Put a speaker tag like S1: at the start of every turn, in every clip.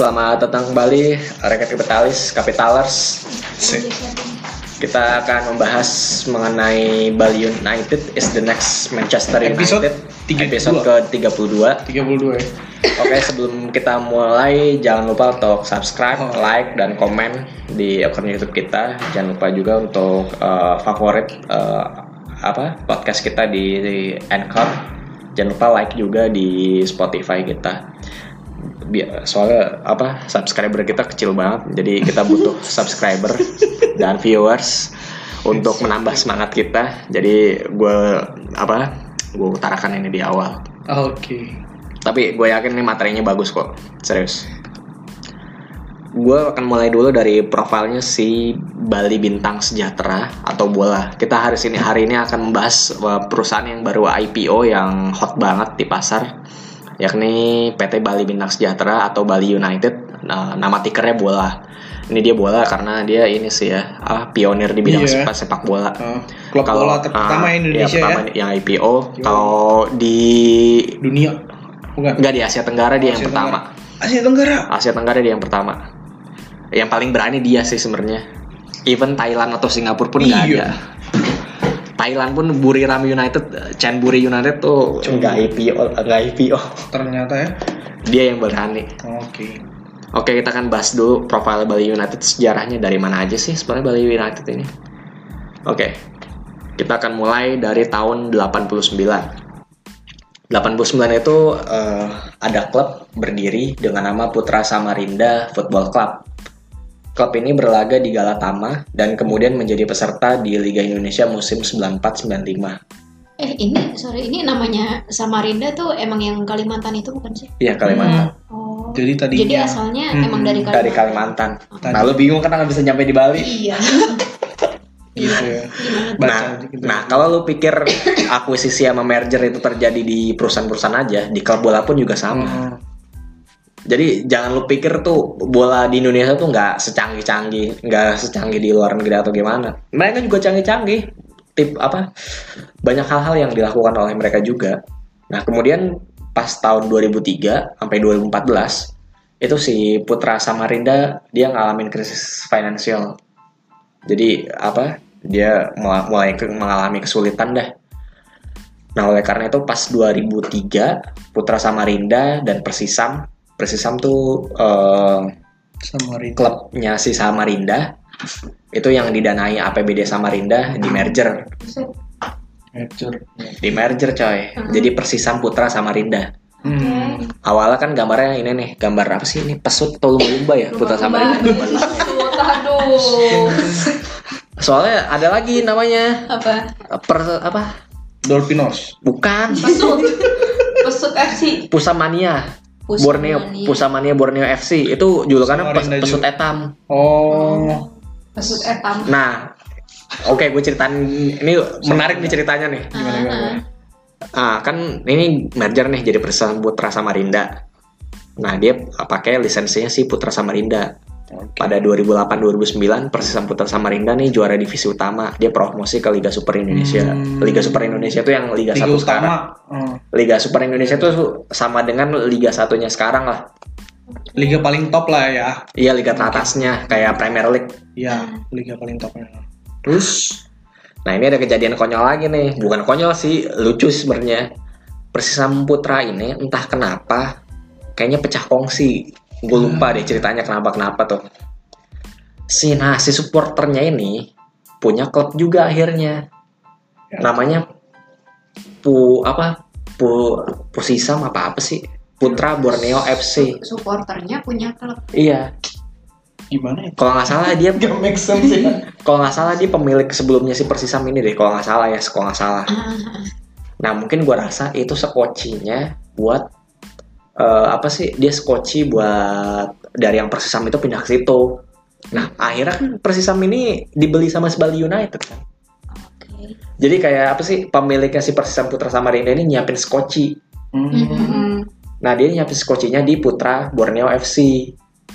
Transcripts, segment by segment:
S1: Selamat datang kembali Rakyat Kapitalis, Kapitalers. Kita akan membahas mengenai Bali United is the next Manchester
S2: Episode
S1: United.
S2: 32.
S1: Episode ke-32.
S2: 32 ya.
S1: Oke, sebelum kita mulai jangan lupa untuk subscribe,
S2: Oh.
S1: like dan komen di akun YouTube kita. Jangan lupa juga untuk eh, favorit eh, apa podcast kita di, di Anchor. Jangan lupa like juga di Spotify kita. Bi- Soalnya apa subscriber kita kecil banget, jadi kita butuh subscriber dan viewers untuk menambah semangat kita. Jadi gue apa gue utarakan ini di awal.
S2: Ah, Oke.
S1: Tapi gue yakin ini materinya bagus kok, serius. Gue akan mulai dulu dari profilnya si Bali Bintang Sejahtera atau bola. Kita hari ini hari ini akan membahas uh, perusahaan yang baru IPO yang hot banget di pasar, yakni PT Bali Bintang Sejahtera atau Bali United. Nah, nama tikernya bola. Ini dia bola karena dia ini sih ya, ah, pionir di bidang
S2: Iya.
S1: sepak, sepak bola.
S2: Ah, klub
S1: Kalau-
S2: bola terpertama
S1: ah,
S2: Indonesia
S1: iya,
S2: ya,
S1: pertama yang IPO. Kalau di
S2: Dunia. Bukan.
S1: Enggak di Asia Tenggara dia yang
S2: Oh, Asia
S1: pertama.
S2: Tenggara. Asia Tenggara.
S1: Asia Tenggara dia yang pertama. Yang paling berani dia sih sebenarnya. Even Thailand atau Singapura pun nggak ada.
S2: Iya.
S1: Thailand pun Buriram United, Chanburi United tuh nggak IPO, nggak IPO.
S2: Ternyata ya. Ah,
S1: Dia yang berani.
S2: Oke.
S1: Oke kita akan bahas dulu profil Bali United sejarahnya dari mana aja sih sebenarnya Bali United ini. Oke kita akan mulai dari tahun 89. 89 itu eh, ada klub berdiri dengan nama Putra Samarinda Football Club. Klub ini berlaga di Galatama dan kemudian menjadi peserta di Liga Indonesia musim 94-95.
S3: Eh ini sorry ini namanya Samarinda tuh emang yang Kalimantan itu bukan sih?
S1: Iya Kalimantan.
S3: Oh.
S2: Jadi tadinya
S3: Jadi asalnya
S2: Hmm,
S3: emang dari Kalimantan.
S1: Dari Kalimantan.
S2: Tadi.
S1: Nah lu bingung karena nggak bisa nyampe di Bali.
S3: Iya.
S2: gitu ya.
S3: Gimana tuh?
S2: Baca
S1: Nah,
S2: aja gitu.
S1: nah kalau lu pikir akuisisi sama merger itu terjadi di perusahaan-perusahaan aja, di klub bola pun juga sama.
S2: Hmm.
S1: Jadi jangan lu pikir tuh bola di Indonesia tuh nggak secanggih-canggih, nggak secanggih di luar negeri atau gimana. Mereka juga canggih-canggih. Tip apa? Banyak hal-hal yang dilakukan oleh mereka juga. Nah, kemudian pas tahun 2003 sampai 2014 itu si Putra Samarinda dia ngalamin krisis finansial. Jadi apa? Dia mula- mulai ke- mengalami kesulitan dah. Nah, oleh karena itu pas 2003 Putra Samarinda dan Persisam Persisam tuh eh,
S2: Samarinda.
S1: klubnya si Samarinda itu yang didanai APBD Samarinda di merger
S2: Merger.
S1: di merger coy jadi Persisam Putra Samarinda
S2: Hmm.
S1: awalnya kan gambarnya ini nih gambar apa sih ini pesut atau lumba-lumba ya Putra Samarinda
S3: Aduh.
S1: soalnya ada lagi namanya
S3: Apa?
S1: per apa
S2: Dolphinos.
S1: bukan
S4: Pesut. Pesut FC.
S1: Pusamania
S3: Pusat
S1: Borneo
S3: Mania.
S1: Pusamania Borneo FC itu julukannya pes-
S2: Samarinda juga.
S1: pesut etam
S2: Oh.
S4: Pesut etam.
S1: nah oke gue ceritain ini menarik nih ceritanya nih
S2: Gimana
S3: Ah,
S2: gimana?
S1: Ah, kan ini merger nih jadi perusahaan Putra Samarinda. Nah, dia pakai lisensinya si Putra Samarinda.
S2: Oke.
S1: Pada 2008-2009 Persisam Putra Samarinda nih juara divisi utama. Dia promosi ke Liga Super Indonesia.
S2: Hmm.
S1: Liga Super Indonesia itu yang Liga,
S2: Tiga
S1: 1 sekarang.
S2: utama. Hmm.
S1: Liga Super Indonesia itu sama dengan Liga Satunya sekarang lah.
S2: Liga paling top lah ya.
S1: Iya, liga teratasnya kayak Premier League.
S2: Iya, liga paling topnya. Terus
S1: Nah, ini ada kejadian konyol lagi nih. Bukan konyol sih, lucu sebenarnya. Persisam Putra ini entah kenapa kayaknya pecah kongsi. Gue lupa deh ceritanya kenapa-kenapa tuh. Si nah si supporternya ini punya klub juga akhirnya.
S2: Ya.
S1: Namanya Pu apa? Pu Pusisam apa apa sih? Putra Borneo FC.
S3: Supporternya punya klub.
S1: Iya.
S2: gimana ya?
S1: Kalau nggak salah dia
S2: Gak make sense ya.
S1: kalau nggak salah dia pemilik sebelumnya si Persisam ini deh. Kalau nggak salah ya, kalau nggak salah.
S3: Ah,
S1: Nah mungkin gua rasa itu sekocinya buat eh, apa sih dia sekoci buat dari yang Persisam itu pindah ke situ. Nah akhirnya kan Persisam ini dibeli sama Bali United kan.
S3: Oke.
S1: Jadi kayak apa sih pemiliknya si Persisam Putra Samarinda ini nyiapin skoci.
S2: Hmm.
S3: Mm-mm.
S1: Nah dia nyiapin skocinya di Putra Borneo FC.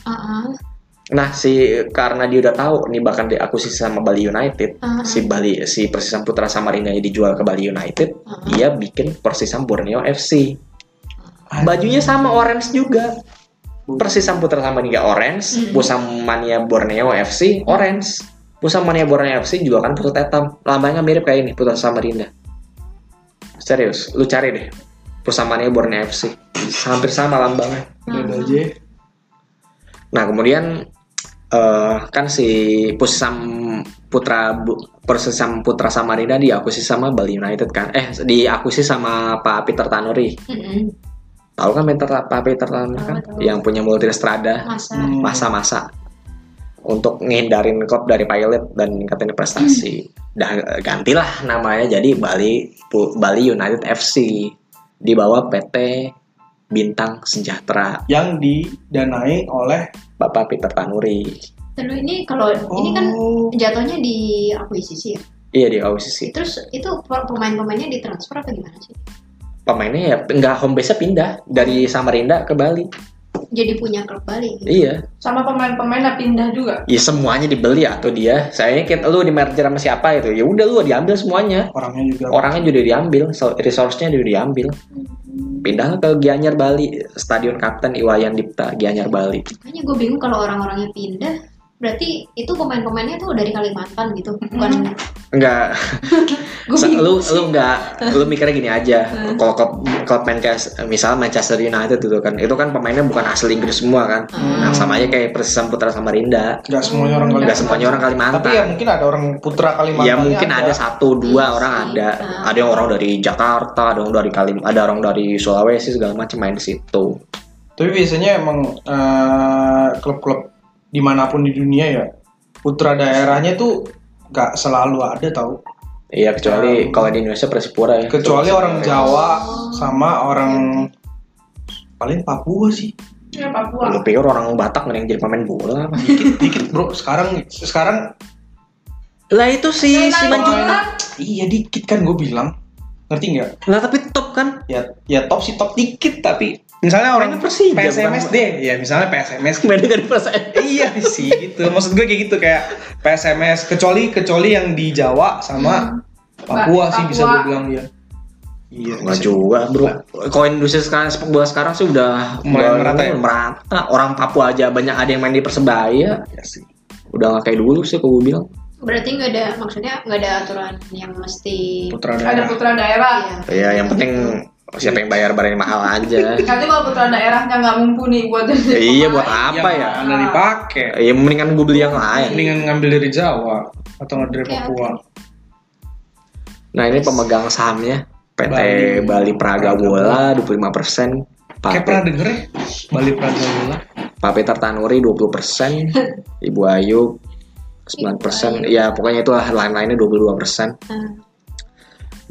S3: Ah,
S1: Nah si karena dia udah tahu nih bahkan diakuisisi sama Bali United,
S3: ah, ah,
S1: si Bali si Persisam Putra Samarinda ini dijual ke Bali United,
S3: ah.
S1: dia bikin Persisam Borneo FC.
S2: Ah,
S1: Bajunya sama orange juga. Persisam Putra Sambanija Orange,
S3: Hmm.
S1: Pusam Mania Borneo FC Orange. Pusam Mania Borneo FC juga kan Putra Tetam. Lambangnya mirip kayak ini Putra Samarinda. Serius, lu cari deh. Pusam Mania Borneo FC. Hampir sama lambangnya.
S2: Beda
S1: Iya.
S2: aja. ya.
S1: Nah kemudian eh, kan si Pusam Putra Bu- Persisam Putra Samarinda diakuisisi sama Bali United kan? Eh diakuisisi sama Pak Peter Tanuri.
S3: Mm-mm.
S1: Tahu kan Peter Pak Peter Tanuri kan?
S3: Tahu, tahu.
S1: Yang punya Multistrada
S3: Masa.
S2: Hmm.
S1: masa-masa untuk ngehindarin klub dari pilot dan ningkatin prestasi.
S3: Hmm.
S1: Dah gantilah namanya jadi Bali Pu- Bali United FC di bawah PT Bintang Sejahtera
S2: Yang didanai oleh
S1: Bapak Peter Tanuri.
S3: Terus ini kalau ini kan
S2: Oh,
S3: jatuhnya di akuisisi ya.
S1: Iya di OCC.
S3: Terus itu pemain-pemainnya ditransfer apa gimana sih?
S1: pemainnya ya nggak home base-nya pindah dari Samarinda ke Bali.
S3: Jadi punya klub Bali. gitu.
S1: Iya.
S4: Sama pemain-pemainnya pindah juga.
S1: Ya semuanya dibeli atau dia. Sayangnya kita lu di merger sama siapa itu. Ya udah lu diambil semuanya.
S2: orangnya juga
S1: Orangnya juga diambil, so- resource-nya juga diambil. Pindah ke Gianyar Bali, Stadion Kapten Iwayan Dipta, Gianyar Bali.
S3: Makanya gue bingung kalau orang-orangnya pindah, berarti itu pemain-pemainnya tuh dari Kalimantan gitu, bukan?
S1: Enggak,
S4: Oh,
S3: Gue
S1: se-
S3: bingung.
S1: lu
S4: gitu.
S1: lu enggak lu mikirnya gini aja. Kalau klub, klub Manchester, misal Manchester United itu kan, itu kan pemainnya bukan asli Inggris semua kan. Nah, sama aja kayak Persisam Putra Samarinda.
S2: Gak semuanya orang
S1: Enggak
S2: Kalimantan.
S1: semuanya orang Kalimantan.
S2: Tapi ya mungkin ada orang putra Kalimantan.
S1: Ya mungkin ada satu dua
S3: Iya
S1: orang
S3: sih.
S1: ada.
S3: Nah.
S1: Ada yang orang dari Jakarta, ada yang dari Kalim, ada orang dari Sulawesi segala macam main di situ.
S2: Tapi biasanya emang eh, klub-klub dimanapun di dunia ya putra daerahnya tuh gak selalu ada tau.
S1: Iya kecuali
S2: Ya.
S1: kalau di Indonesia Persipura ya.
S2: Kecuali
S1: Itu-
S2: orang Jawa
S3: Oh.
S2: sama orang paling Papua sih.
S1: Lu
S4: Ya Papua.
S1: pikir orang Batak nggak ada yang jadi pemain bola apa?
S2: Dikit bro. Sekarang sekarang
S1: lah itu sih
S3: iya.
S1: si
S4: Menang,
S1: Manjun.
S4: menang.
S2: iya dikit kan gue bilang. Ngerti nggak?
S1: Lah tapi top kan?
S2: Ya ya top sih top dikit tapi misalnya orang
S1: Mainnya Persija,
S2: PSMS
S1: bukan-
S2: deh. Ya misalnya PSMS
S1: Mainnya dari Persib.
S2: iya sih gitu maksud gue kayak gitu kayak PSMS kecuali kecuali yang di Jawa sama Papua sih bisa gue
S4: Papua.
S2: bilang dia iya
S1: Enggak
S2: bisa.
S1: juga, Bro. Kalau industri sekarang sepak bola sekarang sih udah
S2: Mulai
S1: udah
S2: merata ya?
S1: merata. Orang Papua aja banyak ada yang main di Persebaya.
S2: Iya sih.
S1: Udah nggak kayak dulu sih kalau gue bilang.
S3: Berarti nggak ada, maksudnya nggak ada aturan yang mesti.
S2: putra
S4: Ada
S2: daerah
S4: putra daerah.
S1: Iya, yang penting siapa yang bayar barang yang mahal aja.
S4: Nanti kalau putra daerahnya nggak mumpuni buat
S1: Ya,
S4: jadi
S1: iya buat
S4: pemain,
S1: apa ya? iya.
S2: mana dipakai
S1: Ya mendingan gue beli yang lain.
S2: mendingan ngambil dari Jawa atau nggak dari
S3: Oke,
S2: Papua
S1: Nah ini pemegang sahamnya PT Bali,
S2: Bali.
S1: Praga Bola 25 persen, Pak,
S2: kayak pernah denger ya Bali Prajabola
S1: Pak Peter Tanuri 20 persen, Ibu Ayu 9 persen, ya pokoknya itu lah lain-lainnya 22 persen.
S3: Ah,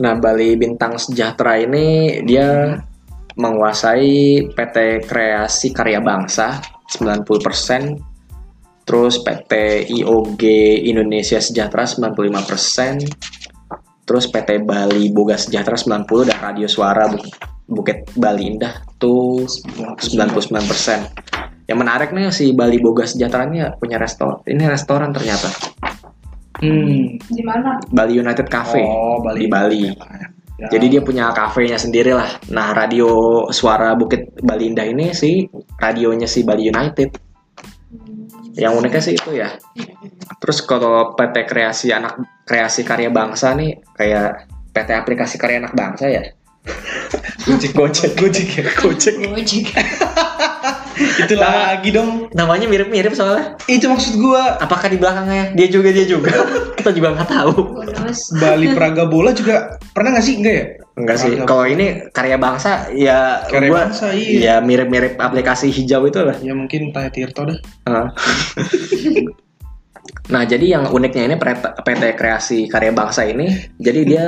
S1: Nah Bali Bintang Sejahtera ini dia menguasai PT Kreasi Karya Bangsa 90 persen, terus PT IOG Indonesia Sejahtera 95 persen, terus PT Bali Boga Sejahtera 90 dan Radio Suara Buk- Bukit Bali Indah tuh 99 persen. Yang menarik nih si Bali Boga Sejahtera ini punya restoran. Ini restoran ternyata
S2: hmm
S4: Di mana?
S1: Bali United Cafe
S2: oh
S1: di
S2: Bali
S1: Bali.
S2: Ya.
S1: Jadi dia punya kafenya sendiri lah. Nah radio suara Bukit Bali Indah ini si radionya si Bali United. Yang uniknya sih itu ya. Terus kalau PT Kreasi Anak Kreasi Karya Bangsa nih kayak PT Aplikasi Karya Anak Bangsa ya.
S2: gojek gojek gojek ya gojek
S3: Iya, Gojek.
S2: itu lagi dong
S1: Namanya mirip-mirip soalnya.
S2: itu maksud gua
S1: Apakah di belakangnya dia juga dia juga? Kita juga nggak tahu.
S3: Bonus.
S2: Bali Praga Bola juga pernah nggak sih enggak ya
S1: Enggak sih.
S2: Agak-
S1: Kalau ini karya bangsa ya
S2: Karya
S1: gua-
S2: bangsa,
S1: ya
S2: iya.
S1: mirip-mirip aplikasi hijau itu lah.
S2: ya mungkin Taya Tirto dah
S1: Heeh. nah, jadi yang uniknya ini PT PT Kreasi Karya Bangsa ini, jadi dia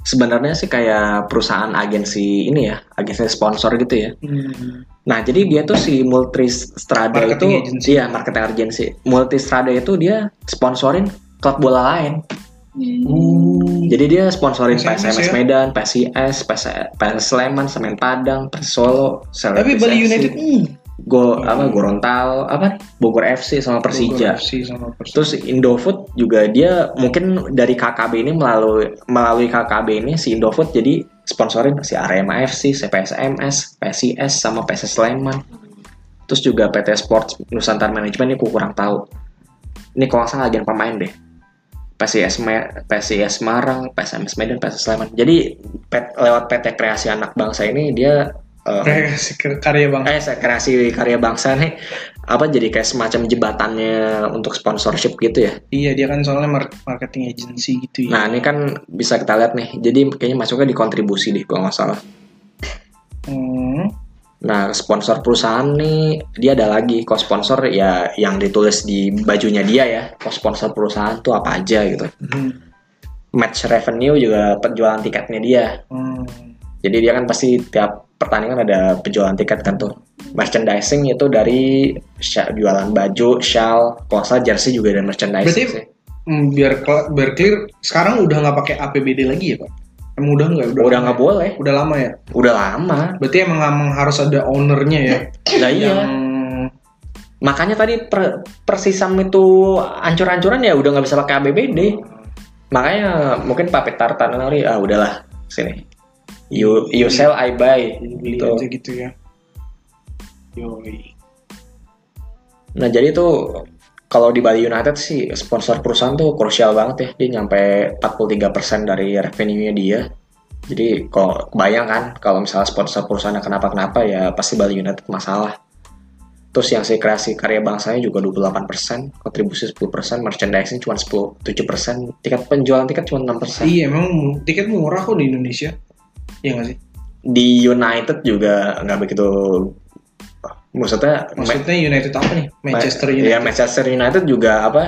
S1: sebenarnya sih kayak perusahaan agensi ini ya, agensi sponsor gitu ya. Nah, jadi dia tuh si Multistrada itu
S2: Marketing agency.
S1: iya, marketing agency. Multistrada itu dia sponsorin klub bola lain.
S2: Uh,
S1: Jadi dia sponsorin
S2: PSMS
S1: PSMS
S2: ya?
S1: Medan, PSIS, PS, PS Sleman, Semen Padang, PS Solo, Select
S2: tapi Bali
S1: SFC,
S2: United hmm,
S1: Go, apa Gorontalo, apa Bogor FC sama Persija.
S2: Bogor FC sama Persija.
S1: Terus Indofood juga dia mungkin dari KKB ini melalui melalui KKB ini si Indofood jadi sponsorin si Arema FC, CPSMS, PSIS sama PS Sleman. terus juga PT Sports Nusantara Manajemen ini aku kurang tahu ini kalau nggak salah agen pemain deh PSIS, Me- PSIS Semarang, PSMS Medan, PSS Sleman. Jadi pet- lewat PT Kreasi Anak Bangsa ini dia eh,
S2: Kayak si karya bang.
S1: eh saya kreasi karya bangsa nih apa jadi kayak semacam jembatannya untuk sponsorship gitu ya
S2: Iya dia kan soalnya mar- marketing agency gitu ya.
S1: nah ini kan bisa kita lihat nih jadi kayaknya masuknya di kontribusi deh kalau nggak salah
S2: Hmm.
S1: nah sponsor perusahaan nih dia ada lagi kok sponsor ya yang ditulis di bajunya dia ya kok sponsor perusahaan tuh apa aja gitu
S2: Hmm.
S1: match revenue juga penjualan tiketnya dia
S2: Hmm.
S1: jadi dia kan pasti tiap pertandingan ada penjualan tiket kan tuh merchandising itu dari sya- jualan baju, shawl, kalau nggak salah jersey juga ada merchandising
S2: Berarti-
S1: sih.
S2: Hmm, Biar kela- biar clear sekarang udah nggak pakai APBD lagi ya pak? Emang udah nggak?
S1: Udah nggak boleh,
S2: Udah lama ya.
S1: udah lama.
S2: Berarti emang, emang harus ada ownernya ya.
S1: Nah iya,
S2: Yang
S1: makanya tadi per, persisam itu ancur-ancuran ya udah nggak bisa pakai ABBD.
S2: Hmm.
S1: Makanya mungkin Pak Petar Tanari, ah udahlah sini. You you sell I buy.
S2: beli
S1: Gitu.
S2: aja gitu ya. Yoi.
S1: Nah jadi itu kalau di Bali United sih sponsor perusahaan tuh krusial banget ya. Dia nyampe 43% dari revenue-nya dia. Jadi kalau bayang kan kalau misalnya sponsor perusahaan kenapa-kenapa ya pasti Bali United masalah. Terus yang si kreasi karya bangsanya juga 28%, kontribusi 10%, merchandising cuma 10, 7%, tiket penjualan tiket cuma 6%.
S2: Iya emang mu- tiket murah kok di Indonesia. Iya nggak sih?
S1: Di United juga nggak begitu maksudnya
S2: Maksudnya United apa nih? Manchester
S1: Ma-
S2: United.
S1: Ya Manchester United juga apa?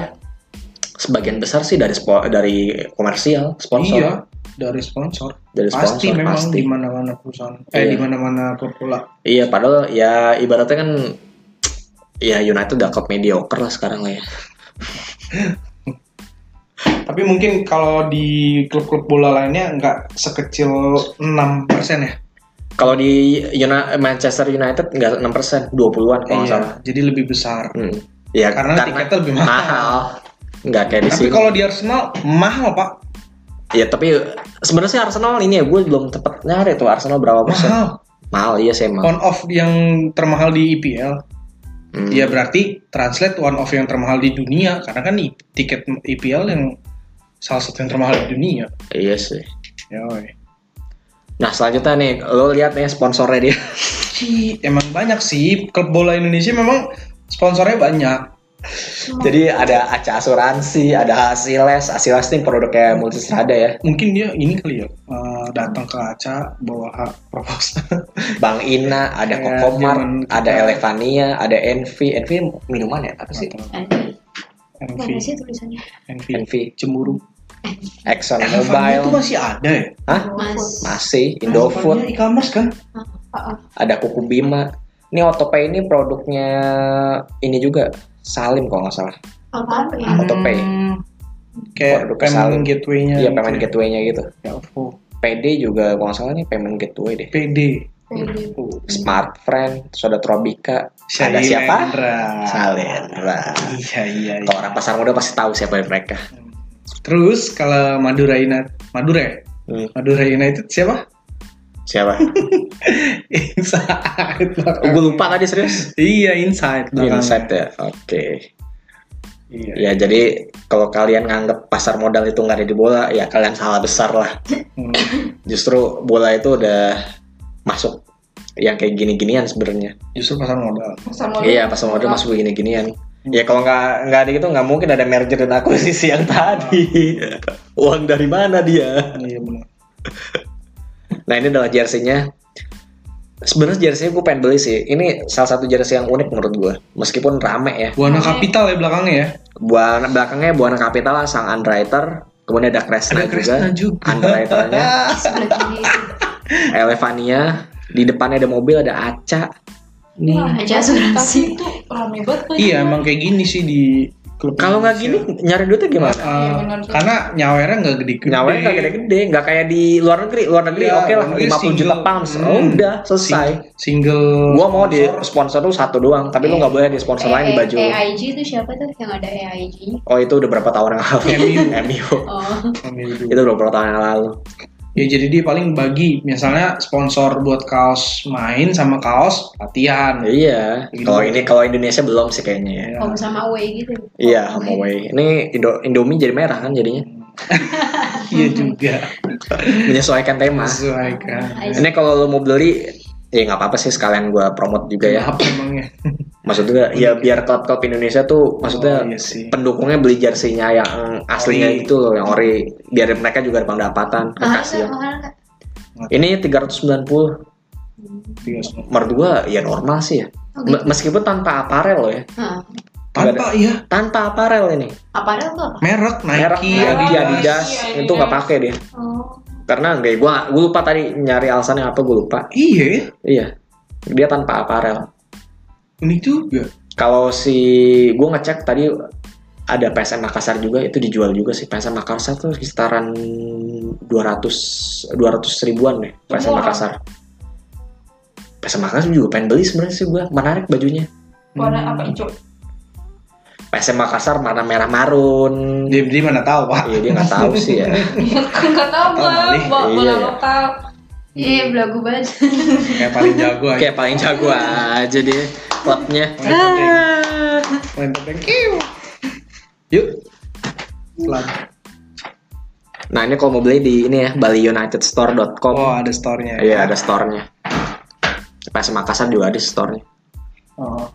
S1: Sebagian besar sih dari spo- dari komersial sponsor.
S2: Iya, dari sponsor.
S1: Dari sponsor
S2: pasti memang
S1: pasti.
S2: di mana-mana perusahaan.
S1: Iya.
S2: Eh di mana-mana klub bola.
S1: Iya, padahal ya ibaratnya kan ya United udah cup mediocre lah sekarang lah ya.
S2: Tapi mungkin kalau di klub-klub bola lainnya nggak sekecil 6% ya.
S1: Kalau di Uni- Manchester United nggak 6%, 20-an kalau nggak
S2: Iya,
S1: salah.
S2: jadi lebih besar.
S1: Hmm. Ya,
S2: Karena tiketnya lebih mahal.
S1: Nggak kayak di
S2: Tapi
S1: sini.
S2: kalau di Arsenal mahal, Pak.
S1: Ya, tapi sebenarnya sih Arsenal ini ya gue belum tepat nyari tuh Arsenal berapa persen.
S2: Mahal.
S1: Mahal iya sih emang.
S2: One off yang termahal di IPL.
S1: Hmm.
S2: Ya berarti translate one off yang termahal di dunia karena kan i- tiket IPL yang salah satu yang termahal di dunia.
S1: Iya sih.
S2: Yoi.
S1: Nah, selanjutnya nih, lo lihat nih sponsornya dia.
S2: Ci, emang banyak sih klub bola Indonesia memang sponsornya banyak.
S1: Jadi ada aca asuransi, ada hasiles, hasiles ini produk kayak multistrada ya,
S2: Mungkin dia ini kali ya eh, datang ke kaca bawa hak proposal.
S1: Bang Ina, ada
S2: Kayak Iya, zaman
S1: Kokomar,
S2: kita-
S1: ada Elevania, ada Envy, Envy minuman ya apa sih?
S3: Anjing.
S2: NV,
S3: Bagus sih tulisannya.
S2: NV,
S1: Envy,
S2: cemburu.
S1: Exxon
S2: Eh, Elevania itu
S1: Mobile,
S2: masih ada ya?
S1: Hah?
S3: Mas.
S1: masih
S2: Elevania
S1: Indofood,
S2: e-commerce kan?
S4: Ah, ah.
S1: ada Kuku Bima. Ini Otopay ini produknya ini juga Salim kalau nggak salah.
S3: Apaan?
S1: Hmm. Autopay.
S2: Kayak
S1: Produk
S2: payment
S1: kesal.
S2: gateway-nya.
S1: Iya
S2: gitu
S1: payment
S2: ya.
S1: gateway-nya gitu.
S2: Elfo.
S1: PD juga kalau nggak salah nih payment gateway deh.
S2: PD.
S1: Hmm. Smart Friend, terus ada Trobika, ada siapa?
S2: Shailendra.
S1: Salendra.
S2: Iya iya. iya.
S1: Kalau orang pasar muda pasti tahu siapa mereka.
S2: Terus kalau Madura United, Madura, ya?
S1: Hmm.
S2: Madura United siapa?
S1: Siapa?
S2: Inside. belakang.
S1: gue Oh, lupa tadi serius.
S2: Iya Inside. belakang.
S1: Insight ya. Oke.
S2: Iya.
S1: Ya jadi kalau kalian nganggep pasar modal itu nggak ada di bola, ya kalian salah besar lah.
S2: Hmm.
S1: Justru bola itu udah masuk yang kayak gini-ginian sebenarnya.
S2: Justru pasar modal.
S4: Pasar modal.
S1: Iya pasar modal masuk begini-ginian. Ya kalau nggak nggak ada gitu nggak mungkin ada merger dan akuisisi yang tadi. Uang dari mana dia?
S2: Iya benar.
S1: Nah ini adalah jersey-nya. Sebenarnya jersey gue pengen beli sih. Ini salah satu jersey yang unik menurut gue. Meskipun rame ya.
S2: Buana Kapital ya belakangnya ya.
S1: Buana belakangnya Buana Capital sang underwriter. Kemudian ada Kresna
S2: Ada
S1: juga.
S2: Kresna juga.
S1: Underwriternya
S3: Sebelah kiri.
S1: Elevania. Di depannya ada mobil ada Aca.
S4: Nih.
S3: Aja asuransi.
S4: Tapi itu rame banget kayaknya.
S2: Iya emang kayak gini sih di klub.
S1: Kalau nggak gini
S2: Indonesia.
S1: nyari duitnya gimana?
S2: Eh,
S4: Iya, benar sih.
S2: karena nyawernya nggak gede-gede.
S1: Nyawanya nggak gede-gede, nggak kayak di luar negeri. Luar negeri
S2: Iya,
S1: oke lah,
S2: luar negeri
S1: 50 juta
S2: single.
S1: pounds.
S2: Hmm.
S1: Oh, udah selesai.
S2: Sing- Single.
S1: Gua mau di
S2: sponsor.
S1: sponsor tuh satu doang, tapi lu nggak boleh di sponsor lain di
S3: Eh,
S1: baju.
S3: AIG itu siapa tuh yang ada AIG?
S1: Oh itu udah berapa tahun yang lalu?
S2: MU.
S1: MU.
S3: Oh,
S2: Ambil dulu.
S1: itu udah berapa tahun yang lalu
S2: Ya jadi dia paling bagi misalnya sponsor buat kaos main sama kaos latihan.
S1: Iya.
S2: Gitu.
S1: Kalau ini kalau Indonesia belum sih kayaknya ya.
S3: Home sama away gitu.
S1: Iya, home away. Ini Indo- Indomie jadi merah kan jadinya.
S2: Iya juga.
S1: Menyesuaikan tema.
S2: Sesuaikan.
S1: Ini kalau lo mau beli ya nggak apa-apa sih sekalian gua promote juga ya.
S2: Apa emangnya?
S1: Maksudnya ya biar klub-klub Indonesia tuh maksudnya
S2: Oh, iya sih.
S1: pendukungnya beli jersinya yang aslinya
S2: Ori.
S1: gitu loh, yang ori biar mereka juga ada pendapatan.
S3: Mahal nggak?
S1: Kasihan.
S3: Mahal nggak?
S1: Ini 390
S2: Tiga Iya, semua.
S1: menurut gua ya normal sih ya.
S3: Oh,
S1: Me- Meskipun tanpa aparel loh ya.
S3: Hah.
S2: Tanpa iya
S1: Tanpa aparel ini.
S3: Aparel tuh apa?
S2: merek Nike,
S1: Merek iya. Nike, Adidas,
S4: Adidas.
S1: itu nggak pakai dia.
S3: Oh.
S1: Karena gue gua gua lupa tadi nyari alasannya apa gue lupa.
S2: Iya, ya.
S1: Iya. Dia tanpa aparel.
S2: unik juga.
S1: Kalau si gue ngecek tadi ada PSM Makassar juga itu dijual juga sih PSM Makassar tuh sekitaran 200 200 ribuan deh PSM
S4: Wah.
S1: Makassar. PSM Makassar juga pengen beli sebenarnya sih gue menarik bajunya.
S4: Warna apa hijau?
S1: PSM Makassar warna merah marun.
S2: Dia, dia mana tahu pak?
S1: Iya dia nggak tahu sih ya.
S4: Iya, aku nggak tahu
S2: Tahu kali.
S4: bang. Bola
S1: Iya,
S4: bola
S1: iya.
S4: lokal.
S3: Iya, belagu banget.
S2: Kayak paling jago aja.
S1: Kayak paling jago aja deh klubnya.
S2: Main topeng. Main topeng. Kiu. Yuk. Selam.
S1: Nah ini kalau mau beli di ini ya BaliUnitedStore.com.
S2: Oh ada store-nya.
S1: Iya ada store-nya. PSM Makassar juga ada store-nya.
S2: Oh.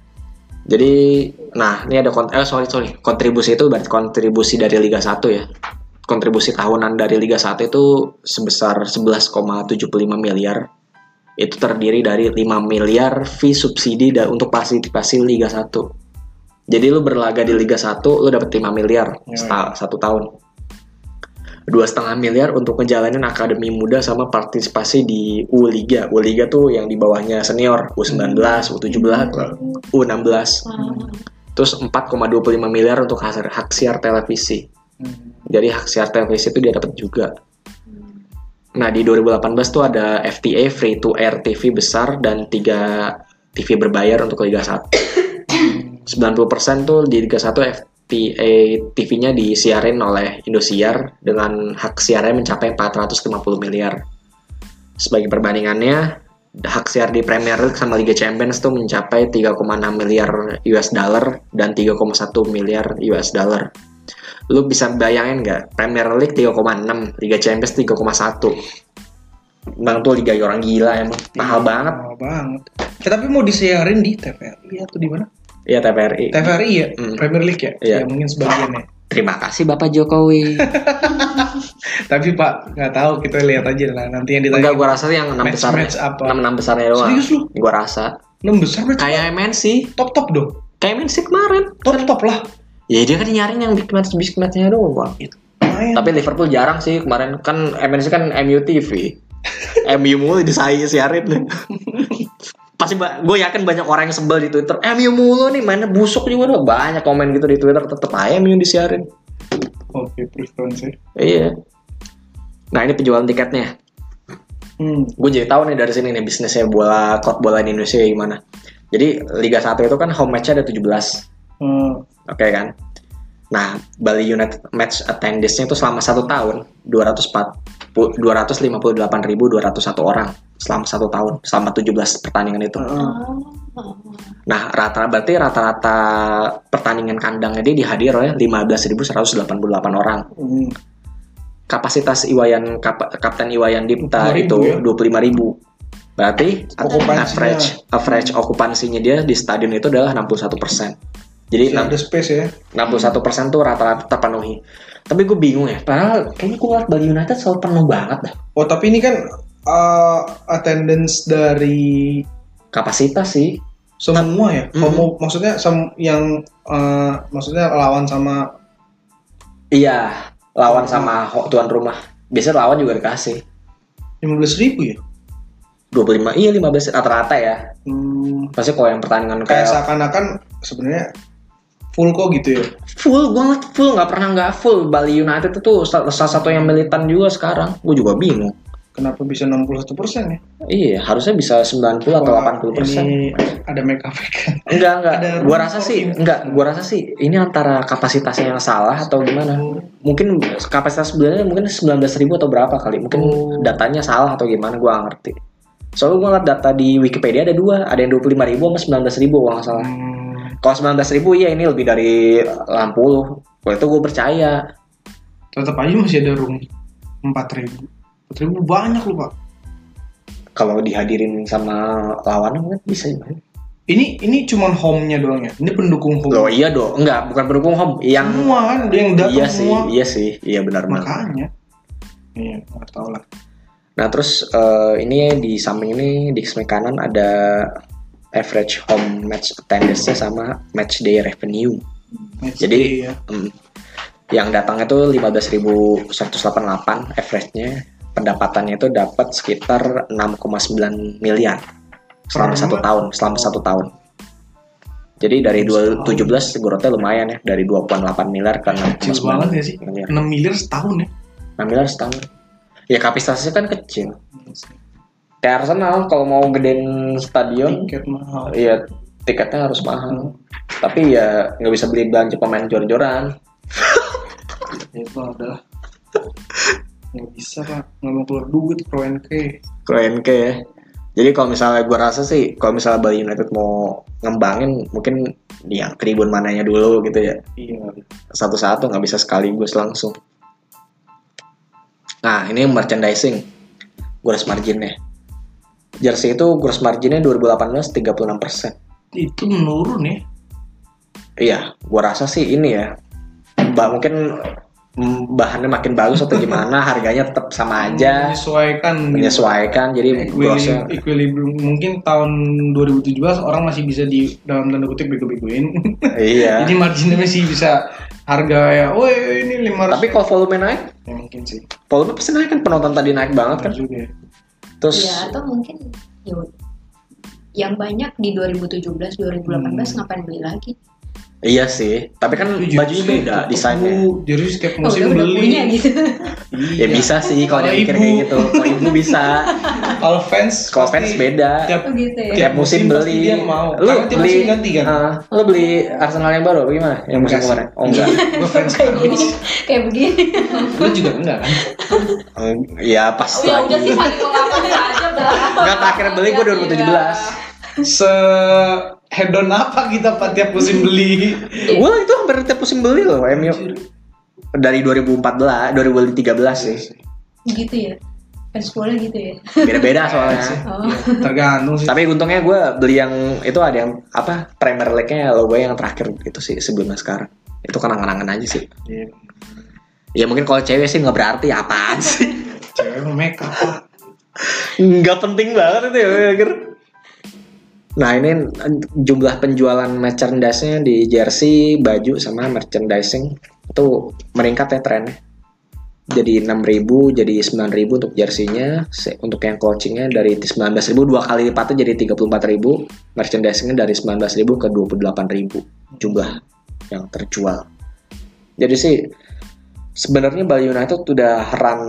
S1: Jadi, nah ini ada kont eh sorry sorry kontribusi itu berarti kontribusi dari Liga 1 ya. Kontribusi tahunan dari Liga 1 itu sebesar 11,75 miliar. Itu terdiri dari 5 miliar fee subsidi da- untuk partisipasi Liga 1. Jadi lu berlaga di Liga 1, lu dapat 5 miliar
S2: Ya.
S1: seta- satu tahun. Dua setengah miliar untuk ngejalanin akademi muda sama partisipasi di U Liga. U Liga tuh yang di bawahnya senior, U19, U17, U16
S2: Hmm.
S3: Wah.
S1: terus 4,25 miliar untuk hak, hak siar televisi.
S2: Hmm.
S1: Jadi hak siar televisi itu dia dapat juga. Nah, di 2018 tuh ada FTA free to air TV besar dan 3 TV berbayar untuk Liga 1. 90% tuh di Liga 1 FTA TV-nya eh, disiarin oleh Indosiar dengan hak siarnya mencapai 450 miliar. Sebagai perbandingannya, hak siar di Premier League sama Liga Champions tuh mencapai 3,6 miliar US dollar dan 3,1 miliar US dollar. Lu bisa bayangin nggak? Premier League 3,6, Liga Champions 3,1. Bang tuh liga orang gila emang, mahal banget.
S2: Iya, Mahal banget. Ya, tapi mau disiarin di TVRI atau di mana?
S1: Iya TPRI.
S2: TVRI ya,
S1: Hmm.
S2: Premier League ya.
S1: Iya.
S2: Ya mungkin sebagiannya.
S1: Terima kasih Bapak Jokowi.
S2: Tapi Pak nggak tahu kita lihat aja lah nanti yang ditanya.
S1: Enggak gua rasa yang enam
S2: ya. Match-
S1: besar. ya.
S2: match apa?
S1: Enam enam besarnya doang.
S2: Serius lu?
S1: Gua rasa
S2: Enam besar berarti
S1: kayak MNC,
S2: top top dong.
S1: kayak MNC kemarin.
S2: Top top lah.
S1: Ya dia kan nyariin yang big match big matchnya doang.
S2: Lumayan.
S1: Iya. Tapi Liverpool jarang sih kemarin kan MNC kan MU TV. MU mulu disai siarin. Pasti gue yakin banyak orang yang sebel di Twitter. MU mulu nih mainnya busuk juga tuh. Banyak komen gitu di Twitter tetep aja MU disiarin.
S2: Oke preferensi.
S1: Iya. Nah ini penjualan tiketnya.
S2: Hmm.
S1: gue jadi tahu nih dari sini nih bisnisnya bola klub bola di Indonesia gimana. Jadi Liga 1 itu kan home match-nya ada 17. Oke
S2: Hmm.
S1: kan? Nah, Bali United match attendance-nya itu selama satu tahun 240 258.201 orang selama satu tahun selama 17 pertandingan itu.
S2: Heeh.
S3: Oh.
S1: Nah, rata berarti rata-rata pertandingan kandangnya dia dihadiri oleh 15.188 orang.
S2: Hmm.
S1: kapasitas Iwayan kap- Kapten Iwayan Dipta
S2: 25.000
S1: itu
S2: ya?
S1: 25.000 Berarti
S2: Okupansinya.
S1: average average okupansinya dia di stadion itu adalah 61%. Jadi
S2: Masih ada space ya.
S1: 61% tuh rata-rata terpenuhi. Tapi gue bingung ya. Padahal kayaknya gue ngeliat Bali United selalu penuh banget dah.
S2: Oh tapi ini kan eh, attendance dari
S1: Kapasitas sih.
S2: semua ya.
S1: Mm-mm.
S2: Homo- maksudnya sem- yang eh, maksudnya lawan sama
S1: Iya, lawan sama ho- tuan rumah. Biasanya lawan juga dikasih.
S2: 15.000 ya.
S1: 25 iya 15 rata-rata ya.
S2: Hmm.
S1: Pasti kalau yang pertandingan
S2: kayak
S1: kayak
S2: seakan-akan sebenarnya full kok gitu ya
S1: full gue ngeliat full nggak pernah nggak full Bali United itu salah salah satu yang militan juga sekarang gue juga bingung
S2: Kenapa bisa 61 persen ya?
S1: Iya, harusnya bisa 90 atau
S2: Wah,
S1: 80 persen.
S2: Ini ada makeup kan?
S1: Enggak, enggak.
S2: Ada
S1: Gua
S2: room
S1: rasa
S2: for
S1: sih,
S2: improvement.
S1: enggak. Gua rasa sih ini antara kapasitasnya yang salah atau gimana. Mungkin kapasitas sebenarnya mungkin 19.000 atau berapa kali. Mungkin
S2: Oh.
S1: datanya salah atau gimana, gua nggak ngerti. Soalnya gua ngeliat data di Wikipedia ada dua, ada yang 25.000 sama 19.000 gua nggak salah.
S2: Hmm,
S1: Kalau 19.000 iya ini lebih dari 80. Kalau itu gua percaya.
S2: Tetap aja masih ada room 4000. 4000 banyak loh, Pak.
S1: Kalau dihadirin sama lawan kan bisa gimana?
S2: Ini ini cuman home-nya doang ya. Ini pendukung home.
S1: Loh iya dong, enggak bukan pendukung home yang
S2: semua kan dia yang datang
S1: iya sih,
S2: semua.
S1: iya sih, iya benar-benar.
S2: Makanya. Iya, nggak tahu lah.
S1: Nah terus eh, ini di samping ini di samping kanan ada average home match attendance-nya sama match day revenue.
S2: Match
S1: Jadi-
S2: day ya.
S1: Hmm. Yang datangnya tuh 15.188 average-nya. Pendapatannya itu dapat sekitar 6,9 miliar selama
S2: Keren
S1: satu
S2: banget.
S1: tahun, selama satu tahun. Jadi dari
S2: Setahun.
S1: 2017 growth-nya lumayan ya, dari 2,8 miliar ke
S2: kecil banget
S1: 6,9
S2: ya sih.
S1: miliar.
S2: 6 miliar setahun ya.
S1: 6 miliar setahun. Ya kapasitasnya kan kecil. Kayak Arsenal kalau mau gedein stadion,
S2: Tiket mahal.
S1: ya tiketnya harus mahal. Tapi ya nggak bisa beli belanja pemain jor-joran.
S2: Ya, itu adalah nggak bisa pak nggak mau keluar duit pro NK
S1: Keren ke ya. Jadi kalau misalnya gue rasa sih, kalau misalnya Bali United mau ngembangin, mungkin yang tribun mananya dulu gitu ya.
S2: iya
S1: Satu-satu nggak bisa sekaligus langsung. Nah ini merchandising, gross marginnya. Jersey itu gross marginnya 2018 36
S2: itu menurun ya
S1: Iya, gua rasa sih ini ya. Mbak mungkin mm, bahannya makin bagus atau gimana, harganya tetap sama aja,
S2: Iya. menyesuaikan
S1: menyesuaikan.
S2: Iya.
S1: ya. Jadi
S2: equilibrium,
S1: grossnya
S2: equilibrium mungkin tahun 2017 orang masih bisa di dalam tanda kutip bego-begoin
S1: iya.
S2: jadi marginnya masih bisa harga ya oh ini 500
S1: Tapi kalau volume naik,
S2: ya, mungkin sih
S1: volume pasti naik kan penonton tadi naik banget kan.
S2: Benar juga ya.
S1: Terus
S4: Iya.
S3: ya atau mungkin ya yang banyak di 2017 2018
S2: Hmm.
S3: ngapain beli lagi
S1: iya sih, tapi kan bajunya
S2: Itu jersey
S1: beda
S2: tetep
S1: desainnya.
S2: bu, jersey setiap
S3: oh,
S2: musim
S3: udah, udah
S2: beli
S3: punya gitu
S1: Ya
S2: Iya.
S1: bisa sih kalau dia
S2: Kalau
S1: mikir
S2: ibu.
S1: kayak gitu. Kalau ibu bisa,
S2: kalau fans
S1: kalau
S2: pasti
S1: fans beda.
S2: tiap
S3: Oh, gitu ya
S1: Tiap musim
S2: Iya, pasti
S1: beli.
S2: dia mau
S1: Lu
S2: karena tiap
S1: beli-
S2: musim ganti kan
S1: Ah, lo beli Arsenal yang baru apa gimana? Yang musim
S2: Enggak sih.
S1: kemarin? Oh enggak.
S2: gue fans
S3: kayak gini kayak begini
S2: lu juga enggak kan
S1: Eng- Ya pas
S4: Oh, ya
S1: lagi.
S4: udah sih Iya, paling pengalaman aja berapa?
S1: Enggak terakhir beli gue 2017.
S2: se head on apa kita pak tiap musim beli
S4: iya.
S1: Gue itu hampir tiap musim beli loh MU. Dari 2014, 2013 sih.
S3: gitu ya fans bola gitu ya
S1: Beda-beda
S2: Iya
S1: soalnya.
S3: oh
S2: tergantung sih
S1: Tapi untungnya gue beli yang itu ada yang apa Premier League-nya logo yang terakhir itu sih sebelumnya sekarang. Itu kenang-kenangan aja sih.
S2: Iya.
S1: Ya mungkin kalau cewek sih nggak berarti apaan sih.
S2: cewek mau make up pak
S1: Nggak penting banget itu ya gue pikir. Nah ini eh, jumlah penjualan merchandise-nya di jersey, baju sama merchandising itu meningkat ya trennya. Jadi 6.000 jadi 9.000 untuk jersinya, Se- untuk yang coachingnya dari 19.000 dua kali lipatnya jadi 34.000, merchandisingnya dari 19.000 ke 28.000 jumlah yang terjual. Jadi sih sebenarnya Bali United udah run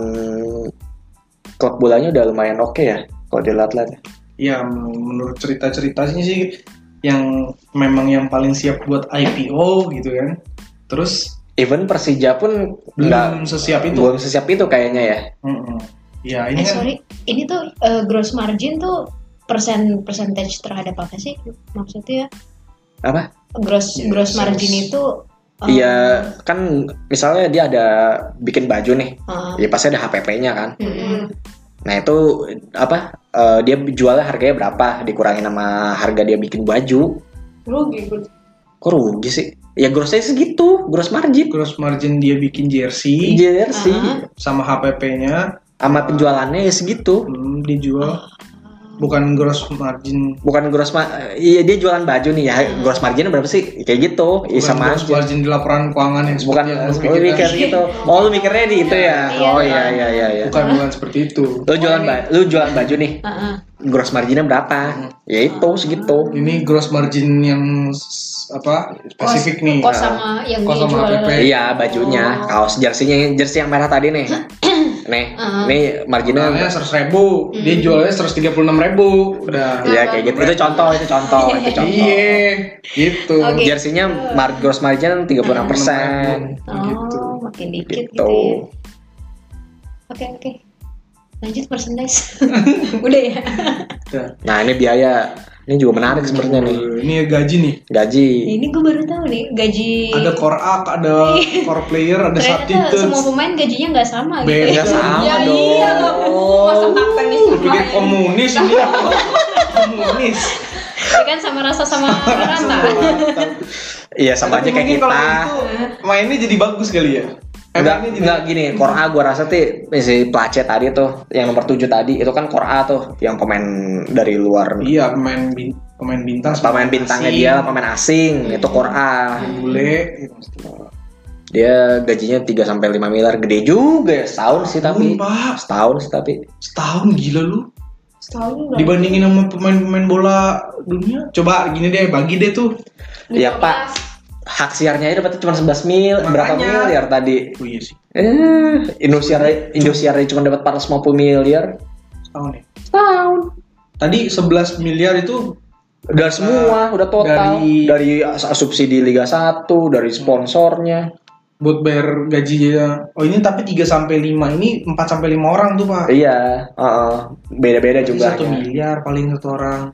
S1: klub bolanya udah lumayan oke ya kalau dilihat-lihat.
S2: ya menurut cerita ceritanya sih yang memang yang paling siap buat IPO gitu kan terus
S1: Even Persija pun
S2: belum
S1: nggak
S2: sesiap Hmm, itu
S1: belum sesiap itu kayaknya ya.
S2: Mm-mm. ya ini
S3: eh
S2: kan
S3: sorry ini tuh eh, gross margin tuh persen percentage terhadap apa sih maksudnya
S1: Apa?
S3: gross
S2: Iya,
S3: gross
S2: sales.
S3: margin itu eh,
S1: Iya, kan misalnya dia ada bikin baju nih,
S3: eh,
S1: ya pasti ada HPP-nya kan.
S3: mm,
S1: Nah itu apa? eh, dia jualnya harganya berapa? Dikurangin sama harga dia bikin baju.
S4: Rugi gue.
S1: Kok rugi sih? Ya grossnya segitu, gross margin.
S2: gross margin dia bikin
S1: Iya.
S2: jersey
S1: Jersey
S3: Ah.
S2: sama HPP-nya
S1: sama penjualannya ya segitu.
S2: belum Hmm,
S3: Oh.
S2: dijual bukan gross margin
S1: Bukan gross ma- iya dia jualan baju nih ya. Gross marginnya berapa sih? Kayak gitu. Ya,
S2: bukan
S1: sama
S2: gross
S1: aja.
S2: margin di laporan keuangan yang
S1: bukan
S2: seperti yang
S1: lu
S2: lu
S1: mikir
S2: pikirkan.
S1: gitu oh lu mikirnya di itu ya
S3: Iya.
S1: oh iya iya iya iya
S2: bukan bukan seperti itu
S1: lu jualan ba- lu jualan baju nih
S3: eh, eh.
S1: gross marginnya berapa ya itu segitu
S2: ini gross margin yang s- apa spesifik nih
S3: kos sama
S2: Iya.
S3: yang
S2: Kos sama
S3: dijual Oh,
S2: APP.
S1: iya bajunya kaos jersinya jersey yang merah tadi nih nih
S3: Heeh.
S1: nih marginnya
S2: Jualnya seratus ribu, dia
S3: Hmm.
S2: jualnya seratus tiga puluh enam ribu, udah.
S1: ya kayak gitu itu contoh itu contoh itu contoh
S2: Iya, gitu.
S3: Oke.
S1: jersinya mar gross margin 36%
S3: Oh,
S2: Gitu.
S3: makin dikit
S1: gitu
S3: gitu, ya. Oke, oke. Lanjut persentase. Udah ya?
S2: Udah.
S1: nah ini biaya ini juga menarik sebenarnya nih
S2: Ini gaji nih.
S1: gaji
S3: Nah, Ini gue baru tahu nih, gaji...
S2: Ada core act, ada core player, ada
S3: Iya. Ternyata semua
S2: subtitles.
S3: pemain gajinya nggak sama gitu
S2: Beda
S1: Nggak sama
S4: Ya
S1: dong.
S4: iya nggak mungkin masa
S2: Oh,
S4: kapten di
S2: Lu pikir komunis ini ya. komunis.
S3: ya kan sama rasa sama rata
S1: iya sama aja
S2: Tapi
S1: kayak
S2: mungkin
S1: kita
S2: kalau gitu, Mainnya jadi bagus kali ya.
S1: Enggak,
S2: Mainnya jadi-
S1: enggak gini, core A gue rasa ti si Place tadi tuh, yang nomor 7 tadi, itu kan core A tuh, yang pemain dari luar,
S2: Iya, pemain bin, pemain bintang.
S1: pemain bintangnya
S2: asing, Hmm.
S1: dia, pemain asing, itu core A.
S2: Bule. gitu.
S1: Dia gajinya 3 sampai 5 miliar, gede juga ya, setahun sih tapi.
S2: Setahun, Pak.
S1: Setahun sih tapi.
S2: Setahun gila lu.
S4: setahun udah
S2: Dibandingin sama pemain-pemain bola dunia. Coba gini deh, bagi deh tuh.
S1: Ya Pak, hak siarnya aja dapatnya cuma 11 mil, berapa
S2: Makanya.
S1: miliar tadi?
S2: Oh iya sih,
S1: Eh, Indosiar Indosiar aja cuma dapat 450 miliar.
S2: setahun ya.
S1: Setahun.
S2: Tadi 11 miliar itu
S1: Udah semua, udah total.
S2: Dari- Hmm.
S1: Dari, subsidi Liga 1, dari sponsornya.
S2: buat bayar gajinya. Oh ini tapi 3 sampai 5 ini 4 sampai 5 orang tuh, Pak.
S1: Iya, heeh. beda-beda
S2: Jadi
S1: juga.
S2: 1 miliar paling satu orang.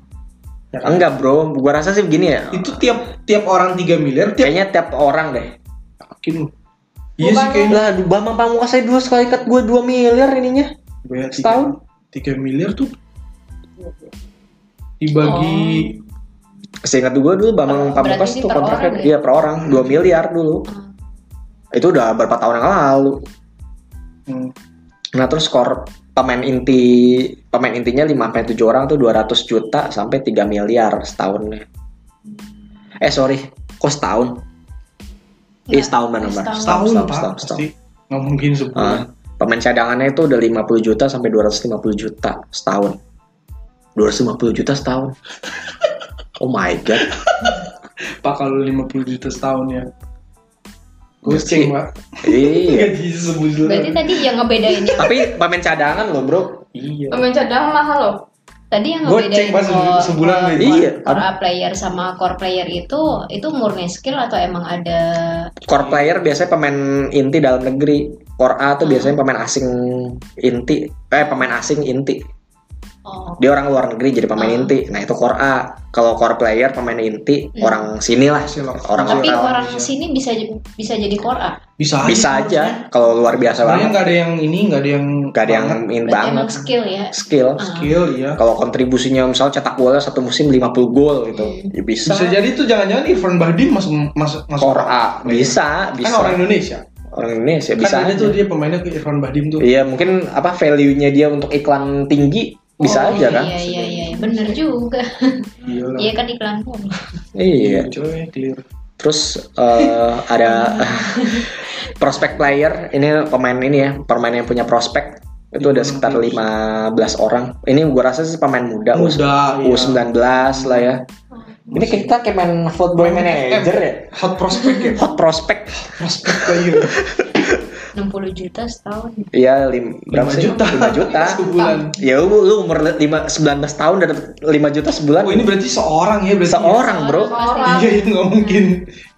S2: Ya kan?
S1: Enggak bro, gua rasa sih begini ya.
S2: Itu tiap tiap orang 3 miliar, tiap
S1: Kayaknya tiap orang deh.
S2: yakin lu. Iya sih
S4: Bukan.
S2: kayaknya.
S1: Lah, Bambang Pamungkas saya dua sekali cut gue 2 miliar ininya.
S2: Bayar tiga-
S1: Setahun?
S2: 3 miliar tuh dibagi
S1: Seingat gue dulu Bambang
S3: Oh,
S1: Pamungkas
S3: berarti
S1: tuh
S3: per
S1: kontraknya
S3: orang Hmm. ya?
S1: iya per orang 2 miliar dulu. Itu udah berapa tahun yang lalu. Oh.
S2: hmm,
S1: Nah, terus skor pemain inti pemain intinya 5 sampai 7 orang tuh 200 juta sampai 3 miliar setahunnya. Eh, sorry. Kok setahun?
S3: Iya.
S1: Eh, setahun benar benar.
S2: setahun,
S1: setahun,
S2: Pak.
S1: setahun,
S2: Pasti nggak mungkin sebulan.
S3: Iya.
S1: Ah, pemain cadangannya itu udah 50 juta sampai 250 juta setahun. 250 juta setahun. oh my god.
S2: Pak kalau 50 juta setahun ya.
S1: Gaji.
S2: Goceng, Pak.
S1: Iya.
S2: Gaji sebulan.
S3: berarti tadi yang ngebedainnya
S1: Tapi pemain cadangan loh, Bro.
S2: Iya.
S4: pemain cadangan mahal loh
S3: tadi yang
S2: Goceng,
S3: ngebedain
S2: Pak, sebu-
S3: core-
S2: sebulan kan?
S3: core-
S2: gaji.
S1: Iya,
S3: core A player sama core player itu itu murni skill atau emang ada
S1: Core player biasanya pemain inti dalam negeri. Core A tuh
S3: Hmm.
S1: biasanya pemain asing inti. Eh, pemain asing inti.
S3: oh
S1: Dia orang luar negeri jadi pemain
S3: Ah.
S1: inti. Nah, itu core A. Kalau core player pemain inti
S3: Hmm.
S1: orang sini lah.
S2: Hasil lokal.
S1: Orang
S3: tapi
S1: lokal.
S3: orang
S2: bisa.
S3: sini bisa bisa jadi core A
S2: Bisa aja.
S1: Bisa aja kalau luar biasa banget.
S2: Soalnya nggak ada yang ini, nggak ada yang
S1: Gak ada yang
S2: banget.
S1: ingin
S3: berarti emang
S1: banget
S3: skill ya
S1: skill.
S2: skill ya.
S1: kalau kontribusinya misalnya cetak golnya satu musim 50 gol gitu ya bisa
S2: Iya. Bisa jadi tuh jangan-jangan Irfan Bahdim masuk masuk masuk
S1: core A bisa
S2: Kan
S1: bisa
S2: orang Indonesia.
S1: orang Indonesia bisa
S2: kan ada
S1: aja.
S2: tuh dia pemainnya ke Irfan Bahdim tuh.
S1: iya mungkin apa value nya dia untuk iklan tinggi bisa
S3: Oh,
S1: aja kan
S3: iya iya iya bener juga
S2: Iya lah.
S3: iya kan iklan pun
S1: iya
S2: Coy, clear.
S1: terus eh, ada prospek player ini pemain ini ya pemain yang punya prospek itu
S2: Iya.
S1: ada sekitar 15 orang ini gua rasa sih pemain muda,
S2: Muda, iya. Oh,
S1: U19 lah ya ini kita kayak main football manager ya
S2: Hot prospect ya.
S1: hot prospect
S2: Prospect player.
S3: 60 juta setahun
S1: Iya, lim, berapa
S2: 5
S1: sih?
S2: juta.
S1: 5 juta.
S2: Sebulan.
S1: ya lu, lu umur lima- 19 tahun udah dapet 5 juta sebulan.
S2: Oh, ini berarti seorang ya, berarti.
S1: seorang, Bro.
S4: Seorang.
S2: Iya, itu nggak mungkin.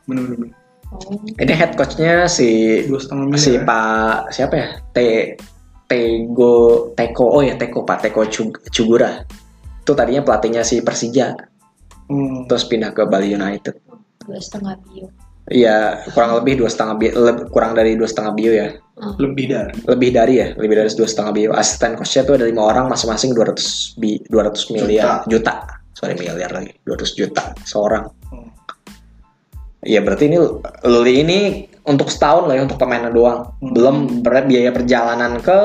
S2: Bener-bener.
S3: oh
S1: Ini head coachnya si
S2: Dua setengah miliar.
S1: si
S2: ya.
S1: Pak siapa ya? T Tego Teko. Oh ya, Teko Pak Teko Cug- Cugura. Itu tadinya pelatihnya si Persija,
S2: Hmm.
S1: terus pindah ke Bali United.
S3: dua setengah bio
S1: Iya, kurang lebih dua setengah bi- leb- kurang dari dua setengah bio ya.
S2: Lebih dari.
S1: Lebih dari ya, lebih dari dua setengah bio. Asisten coachnya tuh ada lima orang, masing-masing 200 bi, 200 miliar juta. Sorry miliar lagi, 200 juta seorang.
S2: Hmm.
S1: Iya berarti ini Luli ini untuk setahun lah ya untuk pemainnya doang.
S2: Hmm.
S1: Belum ber- biaya perjalanan ke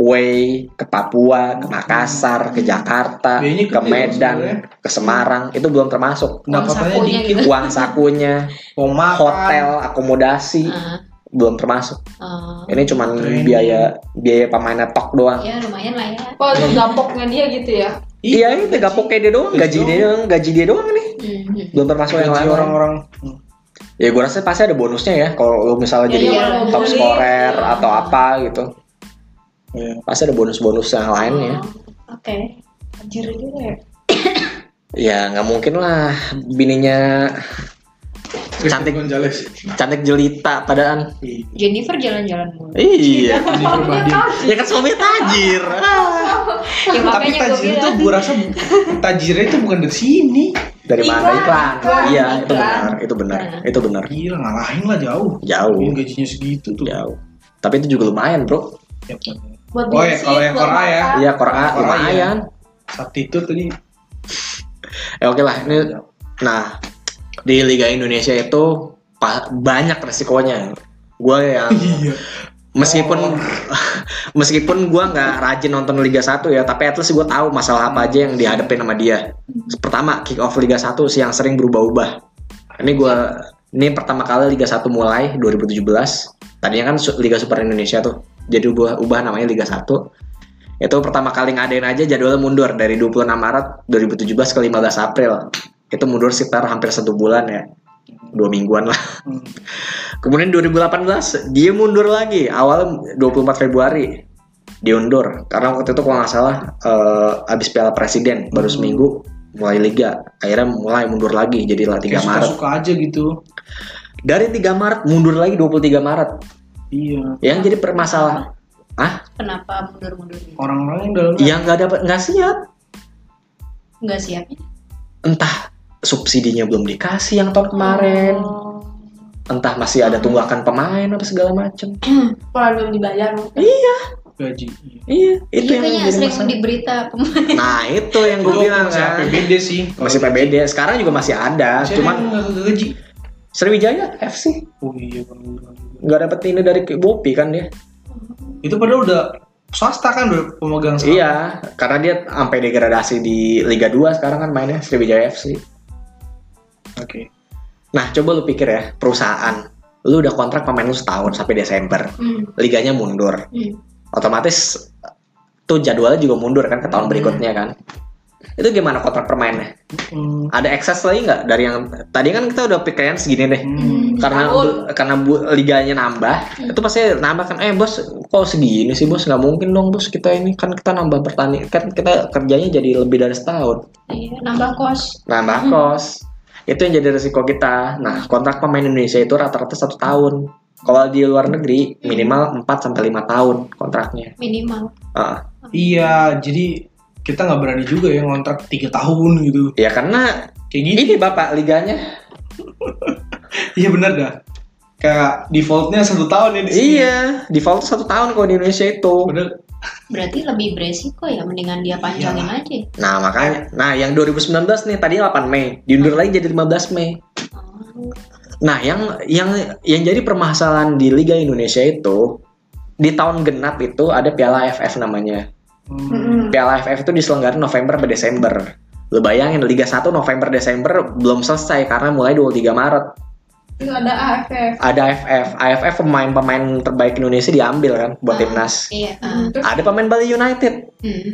S1: Way, ke Papua, ke Makassar, ke Jakarta,
S2: Hmm. Biayanya
S1: ke
S2: gede loh
S1: Medan,
S2: sebenarnya.
S1: ke Semarang itu belum termasuk.
S2: Pendapatannya
S3: sakunya
S2: dikit.
S3: gitu.
S1: Uang sakunya,
S2: Mau makan. Hmm.
S1: hotel, akomodasi
S3: Ah,
S1: belum termasuk.
S3: ah.
S2: Oh,
S1: Ini cuman
S2: Training.
S1: biaya biaya pemainnya tok doang.
S3: ya lumayan lah ya
S4: Wah, itu gapoknya dia gitu ya.
S1: Iya, ini gapoknya dia doang, gaji dia doang, gaji dia doang nih.
S3: Mhm.
S1: Belum termasuk yang
S2: Gaji
S1: lain.
S2: orang-orang. Hmm.
S1: Ya gue rasa pasti ada bonusnya ya kalau lu misalnya
S4: Ya,
S1: jadi
S4: iya,
S1: top
S4: boleh.
S1: scorer atau apa gitu.
S2: Iya.
S1: pasti ada bonus-bonus yang ya. lainnya
S3: Oh, Oke.
S4: Anjir juga ya.
S1: ya nggak mungkin lah bininya Cantik.
S2: Gonzales.
S1: cantik jelita padaan
S2: Ih,
S3: Jennifer jalan-jalan mulu.
S1: iya
S2: Iya, Ini berbanding.
S1: ya kan suami tajir Ah.
S3: ya
S2: Tapi
S3: makanya gue
S2: tajir itu
S3: bilang.
S2: gue rasa bu- tajirnya itu bukan dari sini.
S1: dari mana
S4: Iklan,
S1: iklan
S4: iklan,
S1: iya itu
S4: iklan. Iya.
S1: benar itu benar itu benar
S2: Gila ngalahin lah jauh.
S1: Jauh. Iya.
S2: Ini gajinya segitu tuh.
S1: jauh tapi itu juga lumayan bro
S2: Tiap tahun.
S4: Buat
S2: Oh ya,
S4: bensin,
S2: kalau yang
S4: buat
S2: Korea ya.
S4: makan.
S1: iya korea
S2: Korea.
S1: lumayan
S2: Sakti itu tadi.
S1: ya oke lah ini nah di liga Indonesia itu pa- banyak resikonya gue yang
S2: Iya.
S1: meskipun meskipun gue nggak rajin nonton Liga 1 ya tapi at least gue tahu masalah apa aja yang dihadapin sama dia pertama kick off Liga 1 sih yang sering berubah-ubah ini gue ini pertama kali Liga 1 mulai 2017 tadinya kan Su- Liga Super Indonesia tuh jadi ubah, ubah namanya Liga 1 itu pertama kali ngadain aja jadwalnya mundur dari 26 Maret 2017 ke 15 April itu mundur sekitar hampir satu bulan ya dua mingguan lah
S2: Hmm.
S1: Kemudian 2018 dia mundur lagi awalnya 24 Februari diundur karena waktu itu kalau nggak salah eh, abis Piala Presiden baru seminggu mulai liga akhirnya mulai mundur lagi jadi lah 3
S2: Kayak
S1: Maret
S2: Suka-suka aja gitu.
S1: dari 3 Maret mundur lagi 23 Maret
S2: Iya.
S1: yang jadi permasalahan ah
S3: Kenapa mundur-mundur? gitu?
S2: Orang-orang yang dalam.
S1: yang nggak dapat nggak siap
S3: Nggak ya? siapnya?
S1: entah subsidinya belum dikasih yang tahun kemarin entah masih ada tunggakan pemain apa segala macem
S4: Kalau belum dibayar mungkin.
S2: gaji.
S1: iya itu
S3: Itu
S1: yang
S3: kayaknya
S1: jadi
S3: sering
S1: masalah
S3: di berita pem-
S1: nah itu yang gue
S2: Itu
S1: bilang
S2: masih
S1: kan
S2: APBD sih.
S1: masih PBD sekarang juga masih ada
S2: Masih ada
S1: cuman
S2: yang nggak ke gaji.
S1: Sriwijaya FC
S2: Oh iya bener.
S1: nggak dapet ini dari Bopi kan dia
S2: Itu padahal udah swasta kan udah pemegang saham.
S1: iya karena dia sampai degradasi di Liga 2 sekarang kan mainnya Sriwijaya FC
S2: Oke.
S1: nah coba lu pikir ya perusahaan lu udah kontrak pemain lu setahun sampai Desember
S3: Hmm,
S1: liganya mundur
S3: hmm.
S1: otomatis tuh jadwalnya juga mundur kan ke tahun berikutnya kan itu gimana kontrak permainnya
S2: Hmm.
S1: ada excess lagi nggak dari yang tadi kan kita udah pikirin segini deh
S2: Hmm.
S1: karena
S4: Tahun.
S1: bu- karena bu- liganya nambah itu pasti nambah kan eh bos kok segini sih bos nggak mungkin dong bos kita ini kan kita nambah pertandingan kan kita kerjanya jadi lebih dari setahun
S3: Iya, nambah kos.
S1: nambah kos itu yang jadi resiko kita nah kontrak pemain Indonesia itu rata-rata satu tahun kalau di luar negeri minimal 4 sampai lima tahun kontraknya
S3: Minimal.
S1: Ah,
S2: Iya, jadi kita nggak berani juga ya ngontrak tiga tahun gitu.
S1: ya karena
S2: Kayak gini.
S1: ini bapak liganya
S2: Iya bener dah. Kayak defaultnya satu tahun ya di sini.
S1: iya default satu tahun kalau di Indonesia itu
S2: Padahal
S3: Berarti lebih beresiko ya, mendingan dia panjangin aja.
S1: nah makanya nah yang 2019 nih tadinya 8 Mei diundur lagi jadi 15 Mei
S3: Oh.
S1: Nah, yang yang yang jadi permasalahan di Liga Indonesia itu di tahun genap itu ada Piala AFF namanya.
S2: hmm,
S4: Mm-mm.
S1: Piala AFF itu diselenggarakan November sampai Desember. Lu bayangin Liga 1 November Desember belum selesai karena mulai 23 Maret
S4: Terus ada AFF.
S1: ada AFF. AFF pemain-pemain terbaik Indonesia diambil kan buat
S3: Ah,
S1: timnas.
S3: Iya. ah.
S4: Hmm, Terus
S1: Ada pemain Bali United.
S3: Hmm.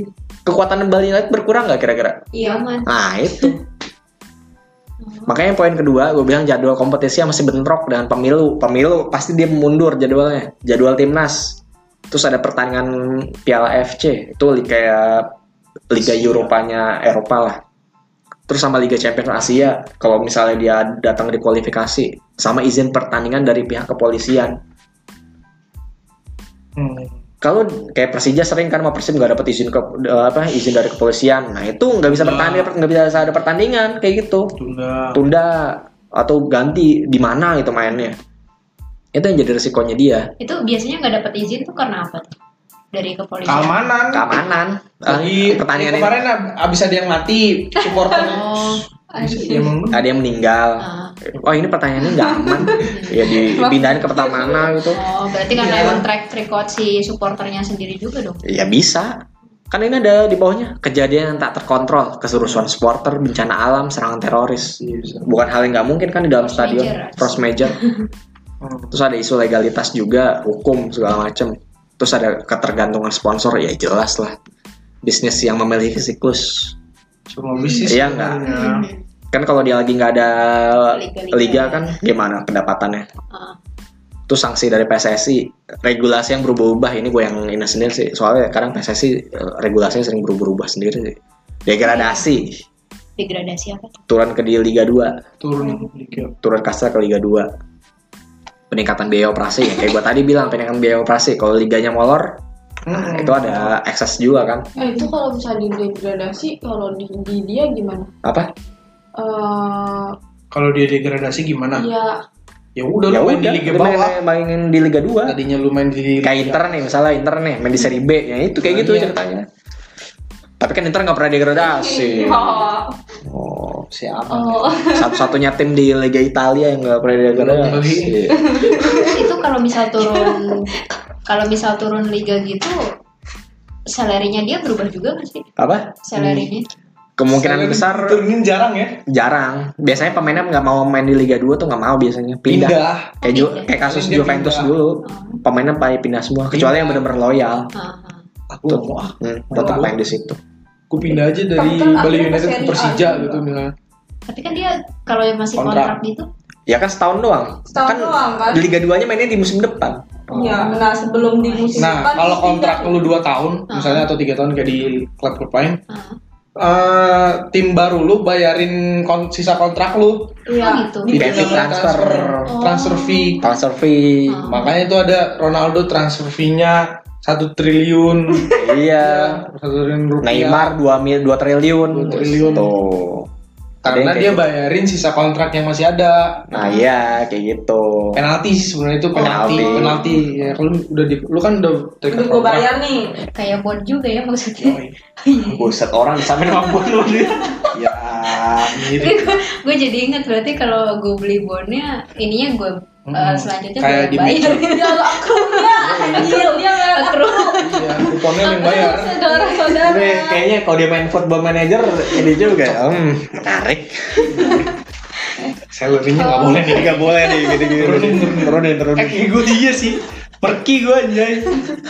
S1: Kekuatan Bali United berkurang nggak kira-kira?
S3: Iya, man.
S1: Nah, itu. Makanya poin kedua, gue bilang jadwal kompetisi yang masih bentrok dengan pemilu. Pemilu pasti dia mundur jadwalnya. Jadwal timnas. Terus ada pertandingan Piala FC. Itu li- kayak Liga Europanya Eropa lah. Terus sama Liga Champions Asia. Kalau misalnya dia datang di kualifikasi. Sama izin pertandingan dari pihak kepolisian.
S2: hmm.
S1: Kalau kayak Persija sering kan sama Persib nggak dapat izin ke eh, apa izin dari kepolisian. Nah itu nggak bisa bertanding, nggak bisa ada pertandingan kayak gitu
S2: Tunda.
S1: tunda atau ganti di mana gitu mainnya itu yang jadi resikonya dia
S3: Itu biasanya nggak dapat izin tuh karena apa tuh? Dari kepolisian.
S2: Keamanan.
S1: keamanan
S2: Lagi
S1: Eh, pertandingan ini
S2: kemarin ab- abis ada yang mati supporter.
S3: Oh.
S2: Ya, emang bener.
S1: ada yang meninggal
S3: Ah.
S1: oh ini pertanyaannya nggak aman ya dipindahin ke pertama mana gitu
S3: Oh, berarti karena
S2: Iya.
S3: emang track record si supporternya sendiri juga dong.
S1: ya bisa kan ini ada di bawahnya kejadian yang tak terkontrol keserusuhan supporter bencana alam serangan teroris
S2: Iya, bisa.
S1: bukan hal yang nggak mungkin kan di dalam
S3: Force
S1: stadion
S3: major.
S1: force major
S2: Hmm.
S1: terus ada isu legalitas juga hukum segala macem terus ada ketergantungan sponsor ya jelas lah bisnis yang memiliki siklus
S2: Semua bisnis.
S1: Iya,
S2: ya.
S1: nggak?
S2: sebenarnya.
S1: kan kalau dia lagi nggak ada
S3: Liga-liga.
S1: liga kan gimana pendapatannya
S3: Ah.
S1: terus sanksi dari PSSI regulasi yang berubah-ubah ini gue yang ini sendiri sih soalnya kadang PSSI eh, regulasinya sering berubah-ubah sendiri sih degradasi
S3: degradasi apa tuh?
S1: turun ke di Liga 2
S2: turun liga
S1: turun kasar ke Liga 2 peningkatan biaya operasi ya kayak gue tadi bilang peningkatan biaya operasi kalau liganya molor nah,
S2: Hmm.
S1: itu ada ekses juga kan
S4: Nah itu kalau misalnya di degradasi, kalau di, di dia gimana?
S1: apa
S4: Eh
S2: kalau dia degradasi
S1: Nah,
S2: gimana
S4: ya
S2: ya udah lu main di liga
S1: lu main-
S2: bawah
S1: main- mainin di Liga 2
S2: tadinya lu main di
S1: kayak Inter nih misalnya Inter nih main di seri B ya itu kayak
S2: Nah,
S1: gitu
S2: iya.
S1: ceritanya tapi kan Inter nggak pernah degradasi
S4: Oh.
S1: oh siapa
S3: oh
S1: satu-satunya tim di Liga Italia yang nggak pernah degradasi
S3: itu kalau misal turun kalau misal turun liga gitu salarinya dia berubah juga nggak sih
S1: apa
S3: salarinya
S1: kemungkinan
S2: Saya
S1: besar
S2: turunnya jarang ya
S1: jarang biasanya pemainnya nggak mau main di Liga 2 tuh nggak mau biasanya pindah,
S2: pindah
S1: kayak Ju-
S3: Pindah.
S1: kayak kasus
S2: Pindah,
S1: Juventus
S2: pindah.
S1: dulu pemainnya paling pindah semua kecuali yang benar-benar loyal
S3: Ah, ah.
S2: aku
S1: Tuh.
S2: nggak mau ah
S1: hmm, tetap
S2: Wah.
S1: main di situ
S2: aku pindah aja dari
S4: Tapi kan
S2: Bali
S4: akhirnya ke
S2: United ke
S4: Serie A
S2: Persija
S4: juga.
S2: gitu misalnya
S3: tapi kan dia kalau yang masih
S2: Kontrak.
S3: kontrak gitu
S1: ya kan setahun doang
S4: Setahun
S1: kan
S4: doang, kan?
S1: di Liga 2 nya mainnya di musim depan
S3: Oh.
S4: Ya, nah sebelum kan di musim
S2: nah
S4: depan
S2: kalau
S4: terus
S2: kontrak
S4: pindah.
S2: lu 2 tahun
S3: Ah.
S2: misalnya atau tiga tahun kayak di klub-klub lain
S3: Ah.
S2: eh, tim baru lu bayarin kon- sisa kontrak lu Oh.
S4: Iya.
S3: Oh, gitu.
S4: Di- Oh.
S1: Kayak fee transfer.
S2: transfer fee
S1: transfer fee
S4: Hmm.
S3: Ah.
S2: makanya itu ada Ronaldo transfer fee-nya satu triliun
S1: iya
S2: Ya, satu triliun rupiah
S1: Neymar 2 mil 2 triliun.
S2: Dua triliun.
S1: Tuh. Ada yang
S2: karena dia
S1: kayak
S2: bayarin sisa kontrak yang masih ada
S1: gitu. Nah, iya kayak gitu.
S2: penalti sih sebenarnya itu Oh, penalti
S1: Penalti.
S2: penalti ya kalau lu udah di, lu kan udah terikat
S4: Udah gue
S2: kontrak.
S4: bayar nih.
S3: kayak bond juga ya maksudnya
S2: Yoi.
S1: Buset orang sampe mampu lu dia.
S2: ya mirip
S3: gue jadi inget berarti kalau gue beli bonnya ininya gue
S2: Hmm,
S3: eh, selanjutnya
S2: kayak di
S3: gue bayar Iya,
S4: Ya lo aku enggak anjir dia enggak
S3: Akru.
S2: iya kuponnya yang bayar Iya.
S4: saudara-saudara.
S1: Ini kayaknya kalau dia main football manager ini juga. Hmm, menarik.
S2: salary-nya nggak boleh nih
S1: Enggak boleh nih gini-gini.
S2: Turunin, turunin.
S1: Turunin, turunin.
S2: Oh. eh ego dia sih perki gue anjay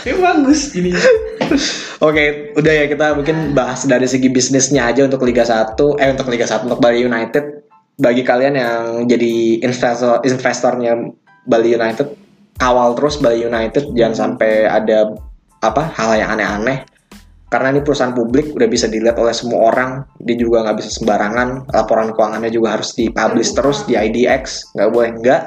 S2: ya bagus ini
S1: Oke, udah ya kita mungkin bahas dari segi bisnisnya aja untuk Liga 1, eh untuk Liga 1 untuk Bali United. Bagi kalian yang jadi investor investornya Bali United, kawal terus Bali United jangan sampai ada apa hal yang aneh-aneh. Karena ini perusahaan publik udah bisa dilihat oleh semua orang, dia juga nggak bisa sembarangan. Laporan keuangannya juga harus dipublish terus di IDX, nggak boleh enggak.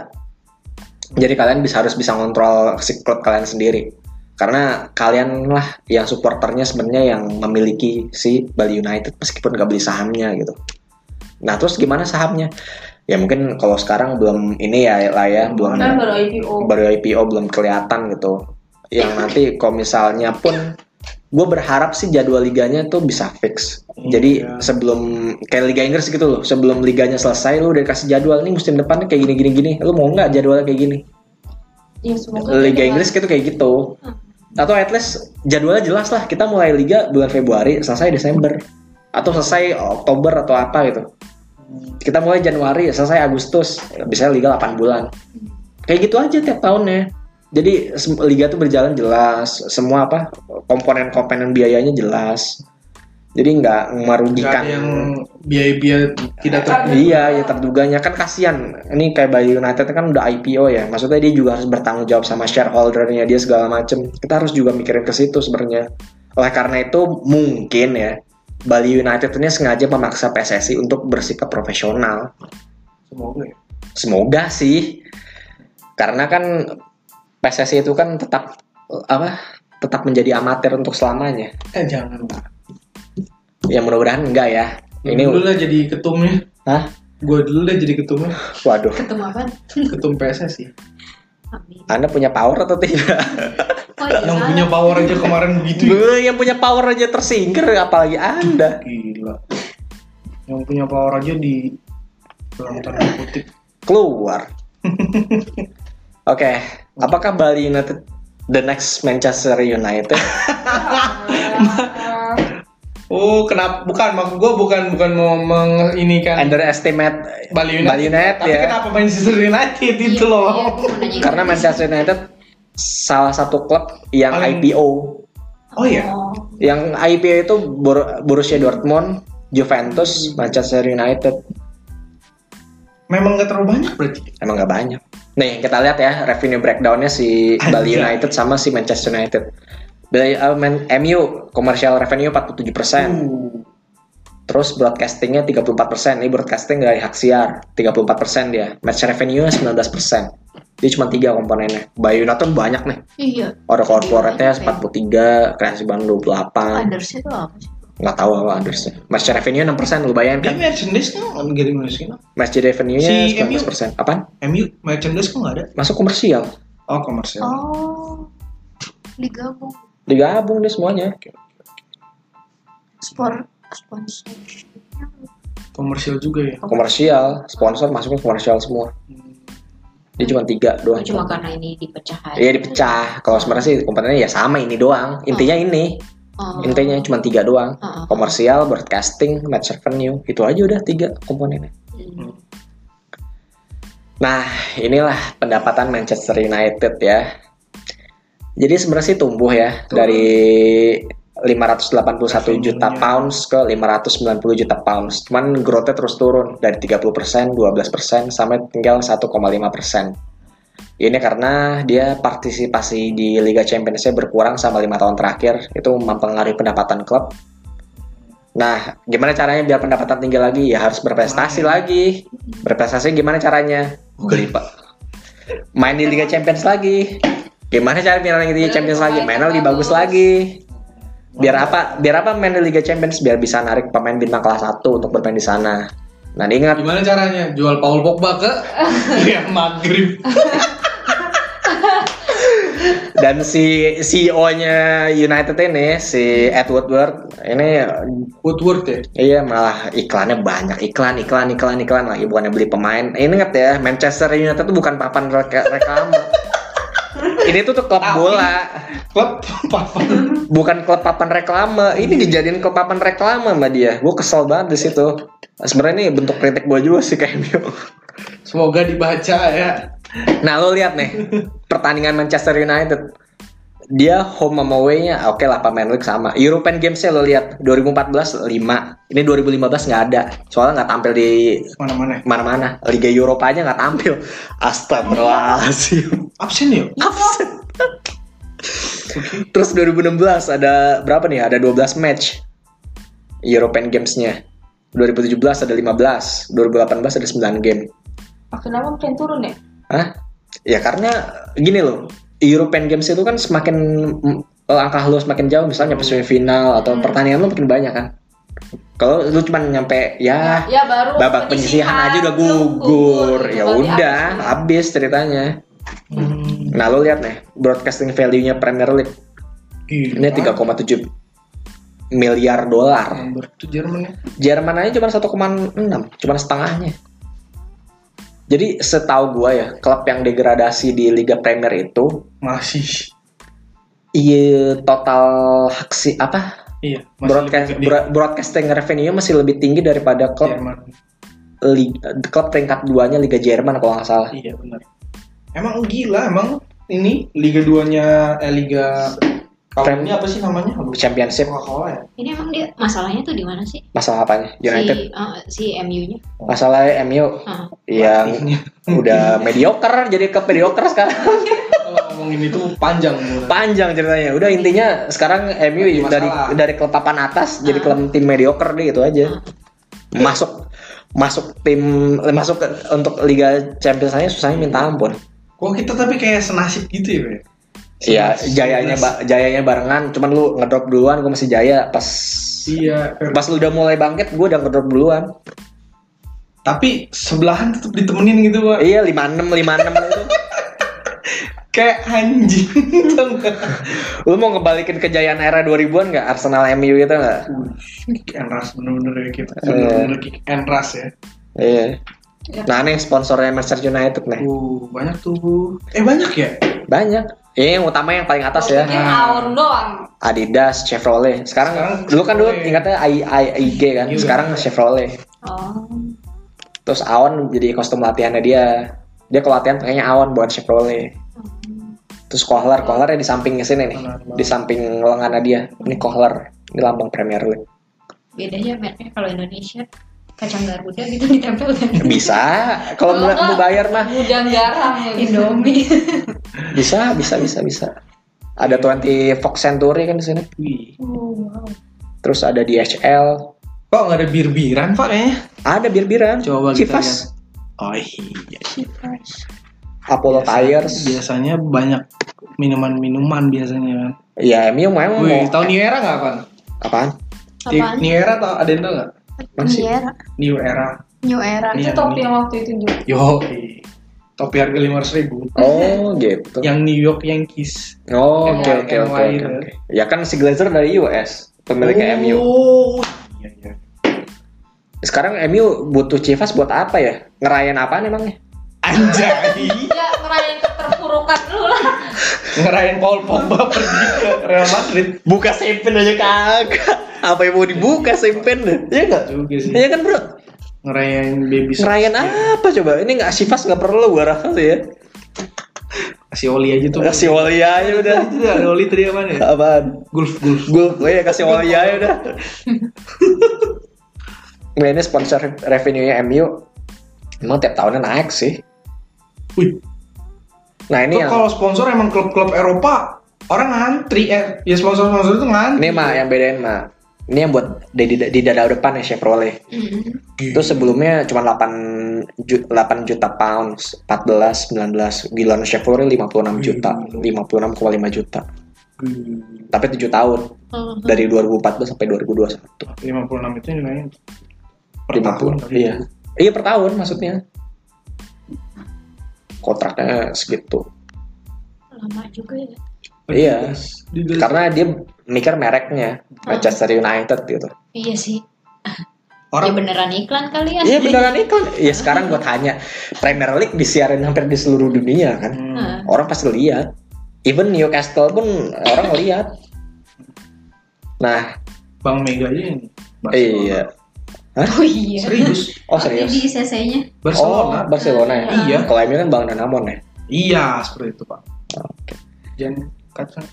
S1: Jadi kalian bisa harus bisa ngontrol si klub kalian sendiri karena kalian lah yang supporternya sebenarnya yang memiliki si Bali United meskipun gak beli sahamnya gitu. Nah terus gimana sahamnya? Ya mungkin kalau sekarang belum ini ya lah ya belum
S4: Kan baru IPO.
S1: baru IPO belum kelihatan gitu. Yang nanti kalau misalnya pun gue berharap sih jadwal liganya tuh bisa fix. Jadi
S2: Iya.
S1: sebelum kayak Liga Inggris gitu loh, sebelum liganya selesai lu udah kasih jadwal nih musim depannya kayak gini gini gini. Lu mau nggak jadwalnya kayak gini?
S4: Ya semoga
S1: Liga
S4: kita-
S1: Inggris gitu kayak gitu. Atau at least jadwalnya jelas lah. Kita mulai liga bulan Februari, selesai Desember. Atau selesai Oktober atau apa gitu. Kita mulai Januari, selesai Agustus. Biasanya liga 8 bulan. Kayak gitu aja tiap tahunnya. Jadi sem- liga tuh berjalan jelas, semua apa komponen-komponen biayanya jelas. Jadi nggak
S2: nggak
S1: merugikan.
S2: ada yang biaya-biaya tidak ter
S1: Iya, ya terduganya kan kasihan. Ini kayak Bali United kan udah IPO ya. Maksudnya dia juga harus bertanggung jawab sama shareholdernya dia segala macem. Kita harus juga mikirin ke situ sebenarnya. Oleh karena itu mungkin ya Bali United ini sengaja memaksa PSSI untuk bersikap profesional.
S2: semoga ya
S1: Semoga sih, karena kan PSSI itu kan tetap eh, apa? Tetap menjadi amatir untuk selamanya.
S2: eh jangan lah
S1: Ya mudah-mudahan enggak ya.
S2: ini dulu
S1: Ini,
S2: lah jadi ketumnya
S1: Hah?
S2: gue dulu deh jadi ketumnya
S1: waduh,
S3: ketemu apa
S2: ketum PSSI
S3: amin
S1: Anda punya power atau tidak?
S3: oh iya
S2: yang punya power aja kemarin begitu ya.
S1: Dulu yang punya power aja tersingkir apalagi Anda.
S2: gila yang punya power aja di dalam tanda kutip
S1: Keluar. Oke, apakah Bali United the next Manchester United?
S2: oh kenapa bukan maksud gue bukan bukan mau menginikan
S1: Underestimate
S2: Bali United,
S1: Bali United
S2: tapi
S1: ya.
S2: kenapa Manchester United itu
S3: Iya,
S2: loh
S3: iya, gua mau nanya
S1: Karena
S3: gitu.
S1: Manchester United salah satu klub yang
S2: Paling-
S1: IPO.
S2: oh ya
S4: Oh.
S1: Yang IPO itu Bor- Borussia Dortmund, Juventus, Manchester United.
S2: memang gak terlalu banyak berarti
S1: Iya. Emang nggak banyak. Nih kita lihat ya revenue breakdownnya si Bali
S2: Anjay.
S1: United sama si Manchester United. Bali, eh, Man- MU commercial revenue 47
S2: Uh,
S1: Terus broadcastingnya 34%. Ini broadcasting dari hak siar 34% dia. Match revenue 19%. Dia cuma tiga komponennya. Bayu Nathan banyak nih.
S3: Iya.
S1: Order
S2: Iya,
S1: corporate-nya 43,
S3: Banyak,
S1: kreasi bank 28.
S3: Unders itu apa sih?
S1: Nggak tahu apa others-nya. Match revenue 6%, lu bayangin
S2: dia
S1: kan?
S2: merchandise kan nggak ada merchandise kan?
S1: Match revenue-nya
S2: Si MU.
S1: 19%. Apaan?
S2: MU merchandise kok nggak ada?
S1: Masuk komersial.
S2: Oh komersial.
S3: Oh. Digabung.
S1: Digabung deh semuanya.
S3: Spor sponsor.
S2: Komersial juga ya.
S1: Komersial, sponsor masuknya komersial semua. Dia cuma tiga doang.
S3: Cuma karena ini dipecah aja.
S1: Iya dipecah. Kalau sebenarnya sih komponennya ya sama ini doang. Intinya ini,
S3: Oh.
S1: intinya cuma tiga doang.
S3: Oh, oh.
S1: Nah. komersial, broadcasting, match revenue, itu aja udah tiga komponennya.
S3: Hmm.
S1: Nah, inilah pendapatan Manchester United ya. Jadi sebenarnya sih tumbuh ya
S3: Turun.
S1: dari 581 juta
S2: Revenue-nya.
S1: pounds ke 590 juta pounds. Cuman growth-nya terus turun dari 30%, 12% sampai tinggal 1,5%. Ini karena dia partisipasi di Liga Champions-nya berkurang sama lima tahun terakhir, itu mempengaruhi pendapatan klub Nah, gimana caranya biar pendapatan tinggi lagi? Ya harus berprestasi
S2: Main.
S1: lagi. Berprestasi gimana caranya? Oh, Geli, Pak. Main di Liga Champions lagi. Gimana cara biar main di Liga Champions lagi? Main lebih bagus lagi. Biar apa? Biar apa main di Liga Champions biar bisa narik pemain bintang kelas 1 untuk bermain di sana. Nah, ingat
S2: Gimana caranya? Jual Paul Pogba ke Real Madrid.
S1: dan si CEO-nya United ini si Edward Ward ini
S2: Woodward ya.
S1: Iya malah iklannya banyak iklan iklan iklan iklan lagi bukannya beli pemain. Ini ingat ya Manchester United itu bukan papan reka- reklame. Ini tuh tuh klub
S2: Tapi-
S1: bola,
S2: Klub papan.
S1: bukan klub papan reklame. Ini dijadiin klub papan reklame sama dia. Gue kesel banget di situ. Sebenarnya ini bentuk kritik gue juga sih kayak MU.
S2: Semoga dibaca ya.
S1: Nah lo lihat nih pertandingan Manchester United dia home sama away-nya oke lah pemain league sama European Games lo lihat 2014 5 ini 2015 nggak ada soalnya nggak tampil di
S2: Mana-mana.
S1: mana-mana Liga Eropa aja nggak tampil Astagfirullahaladzim
S2: Absen ya? yuk.
S1: Absen. Terus 2016 ada berapa nih? ya? Ada 12 match European Games-nya 2017 ada 15 2018 ada 9 game
S4: Ah, kenapa pengen turun ya?
S1: Hah? Ya karena gini loh European Games itu kan semakin mm, langkah lo semakin jauh misalnya nyampe semifinal atau pertandingan lo makin banyak kan kalau lu cuman nyampe ya
S4: ya baru
S1: babak penyisihan aja udah gugur ya udah habis ceritanya
S2: Hmm.
S1: nah lo lihat nih broadcasting value nya Premier League ini 3,7 miliar dolar
S2: Nomor itu Jerman ya.
S1: Jerman aja cuma 1,6 cuma setengahnya jadi setahu gua ya klub yang degradasi di Liga Premier itu
S2: Masih.
S1: iya total haksi apa
S2: Iya. Masih
S1: broadcast
S2: lebih gede
S1: bro- broadcasting revenue masih lebih tinggi daripada klub
S2: Jerman.
S1: liga, klub peringkat duanya Liga Jerman kalau nggak salah
S2: Iya benar. Emang gila emang ini Liga 2-nya eh Liga kalau
S1: Prem-
S2: ini apa sih namanya? Aduh,
S1: Championship
S2: Coca-Cola ya?
S3: Ini emang dia masalahnya tuh di mana sih?
S1: masalah apanya United
S3: Si, eh, si MU-nya.
S1: masalah MU
S3: Ah.
S1: yang udah mediocre jadi ke mediocre sekarang
S2: Kalau ngomongin itu panjang Bu.
S1: panjang ceritanya udah intinya sekarang MU
S2: Lagi
S1: dari
S2: masalah. Ah.
S1: dari klub papan atas jadi klub tim mediocre deh gitu aja masuk masuk tim masuk ke- untuk Liga Champions aja susahnya minta ampun
S2: Kok kita tapi kayak senasib gitu ya, Bre?
S1: Iya,
S2: Senasib.
S1: jayanya ba- jayanya barengan, cuman lu ngedrop duluan, gue masih jaya pas
S2: Iya, Fer.
S1: pas lu udah mulai bangkit, gue udah ngedrop duluan.
S2: tapi sebelahan tetap ditemenin gitu, Pak.
S1: Iya, gitu. 56 56 lu tuh.
S2: Kayak anjing. tau nggak?
S1: Lu mau ngebalikin kejayaan era 2000-an nggak Arsenal MU gitu nggak?
S2: kick and rush bener-bener ya kita.
S1: Eh.
S2: Bener-bener kick and rush ya.
S1: Iya. Nah, nih sponsornya Manchester United nih.
S2: Uh, banyak tuh. Bu. Eh, banyak ya?
S1: Banyak. Iya, yang utama yang paling atas ya.
S4: Mungkin Aon doang.
S1: Adidas, Chevrolet. Sekarang,
S2: Sekarang
S1: dulu kan dulu
S2: Chevrolet.
S1: ingatnya I, I, IG kan.
S2: Iya.
S1: Sekarang Chevrolet.
S3: Oh.
S1: Terus Aon jadi kostum latihannya dia. Dia kalau latihan pakainya Aon buat Chevrolet. Terus Kohler, Kohler di samping sini nih,
S2: Benar banget.
S1: di samping lengannya dia. Ini Kohler, ini lambang Premier League.
S3: Bedanya merknya kalau Indonesia kacang garuda gitu ditempel kan
S1: bisa kalau mau
S4: Kalau
S1: mau
S4: nggak-
S1: bayar mah
S4: Gudang garam ya. gitu.
S3: Indomie
S1: bisa bisa bisa bisa ada 20 Fox Century kan di sini
S2: Wih.
S3: oh, wow.
S1: terus ada DHL
S2: Kok nggak ada bir-biran pak kayaknya?
S1: ada bir-biran
S2: Coba kita
S1: Chivas
S2: Oh iya.
S1: Apollo Tires
S2: Biasanya banyak minuman-minuman biasanya kan.
S1: ya MU memang
S2: Wih,
S1: mau
S2: tahu New Era nggak kan?
S1: apaan
S3: Apaan?
S2: New Era tau ada yang tau nggak?
S1: Masih.
S3: New Era
S2: New Era.
S3: New Era
S2: Iya,
S4: Itu topi
S2: ini.
S4: yang waktu itu juga.
S2: Yo. Topi harga lima ribu.
S1: oh gitu
S2: Yang New York Yankees.
S1: oh oke
S2: NY,
S1: oke oke
S2: NY,
S1: oke, oke. ya kan si Glazer dari US pemiliknya MU
S2: Oh. Iya iya.
S1: sekarang MU butuh Chivas buat apa ya ngerayain apaan emangnya
S2: Anjay.
S4: Ya ngerayain keterpurukan lu lah.
S2: ngerayain Paul Pogba pergi ke Real Madrid
S1: buka sempen aja kagak apa yang mau dibuka sempen ya enggak
S2: juga sih
S1: Iya kan bro,
S2: ngerayain baby Shark.
S1: ngerayain apa coba? Ini nggak sifas nggak perlu gua rasa sih ya.
S2: kasih oli aja tuh
S1: Kasih oli aja Iya, udah.
S2: itu ada oli tadi apa ya
S1: Apaan?
S2: gulf gulf
S1: Gue, gue ya kasih oli aja udah. Nah, ini sponsor revenue-nya MU emang tiap tahunnya naik sih.
S2: wih
S1: Nah ini
S2: itu
S1: yang
S2: kalau sponsor emang klub-klub Eropa orang ngantri eh, ya sponsor-sponsor itu ngantri
S1: ini mah yang bedain mah. Ini yang buat di, di, di dada depan ya Chevrolet.
S3: Mm-hmm.
S1: Itu sebelumnya cuma 8 ju- 8 juta pounds, 14, 19. Gila Chevrolet 56 juta, 56,5 juta. Tapi 7 tahun. dari 2014 sampai 2021
S2: lima puluh enam itu nilainya per tahun
S1: 50 iya iya per tahun maksudnya kontraknya segitu
S3: lama juga ya
S2: Oh,
S1: Iya.
S2: Di- di-
S1: karena dia mikir mereknya Manchester United gitu
S3: iya sih ya
S2: orang
S3: beneran iklan kali ya
S1: iya beneran iklan ya sekarang gua tanya Premier League disiarin hampir di seluruh dunia kan
S2: Hmm.
S3: Hah.
S1: orang pasti lihat even Newcastle pun orang lihat nah
S2: Bang Mega aja ini Barcelona.
S1: iya
S3: oh iya
S2: serius
S1: oh
S3: Ini
S1: serius
S3: di CC-nya
S1: Oh,
S2: Barcelona
S1: Barcelona ya?
S2: Iya.
S1: Kalau MU kan Bang Danamon ya?
S2: Iya, seperti itu Pak.
S1: Oke.
S2: Jangan kacang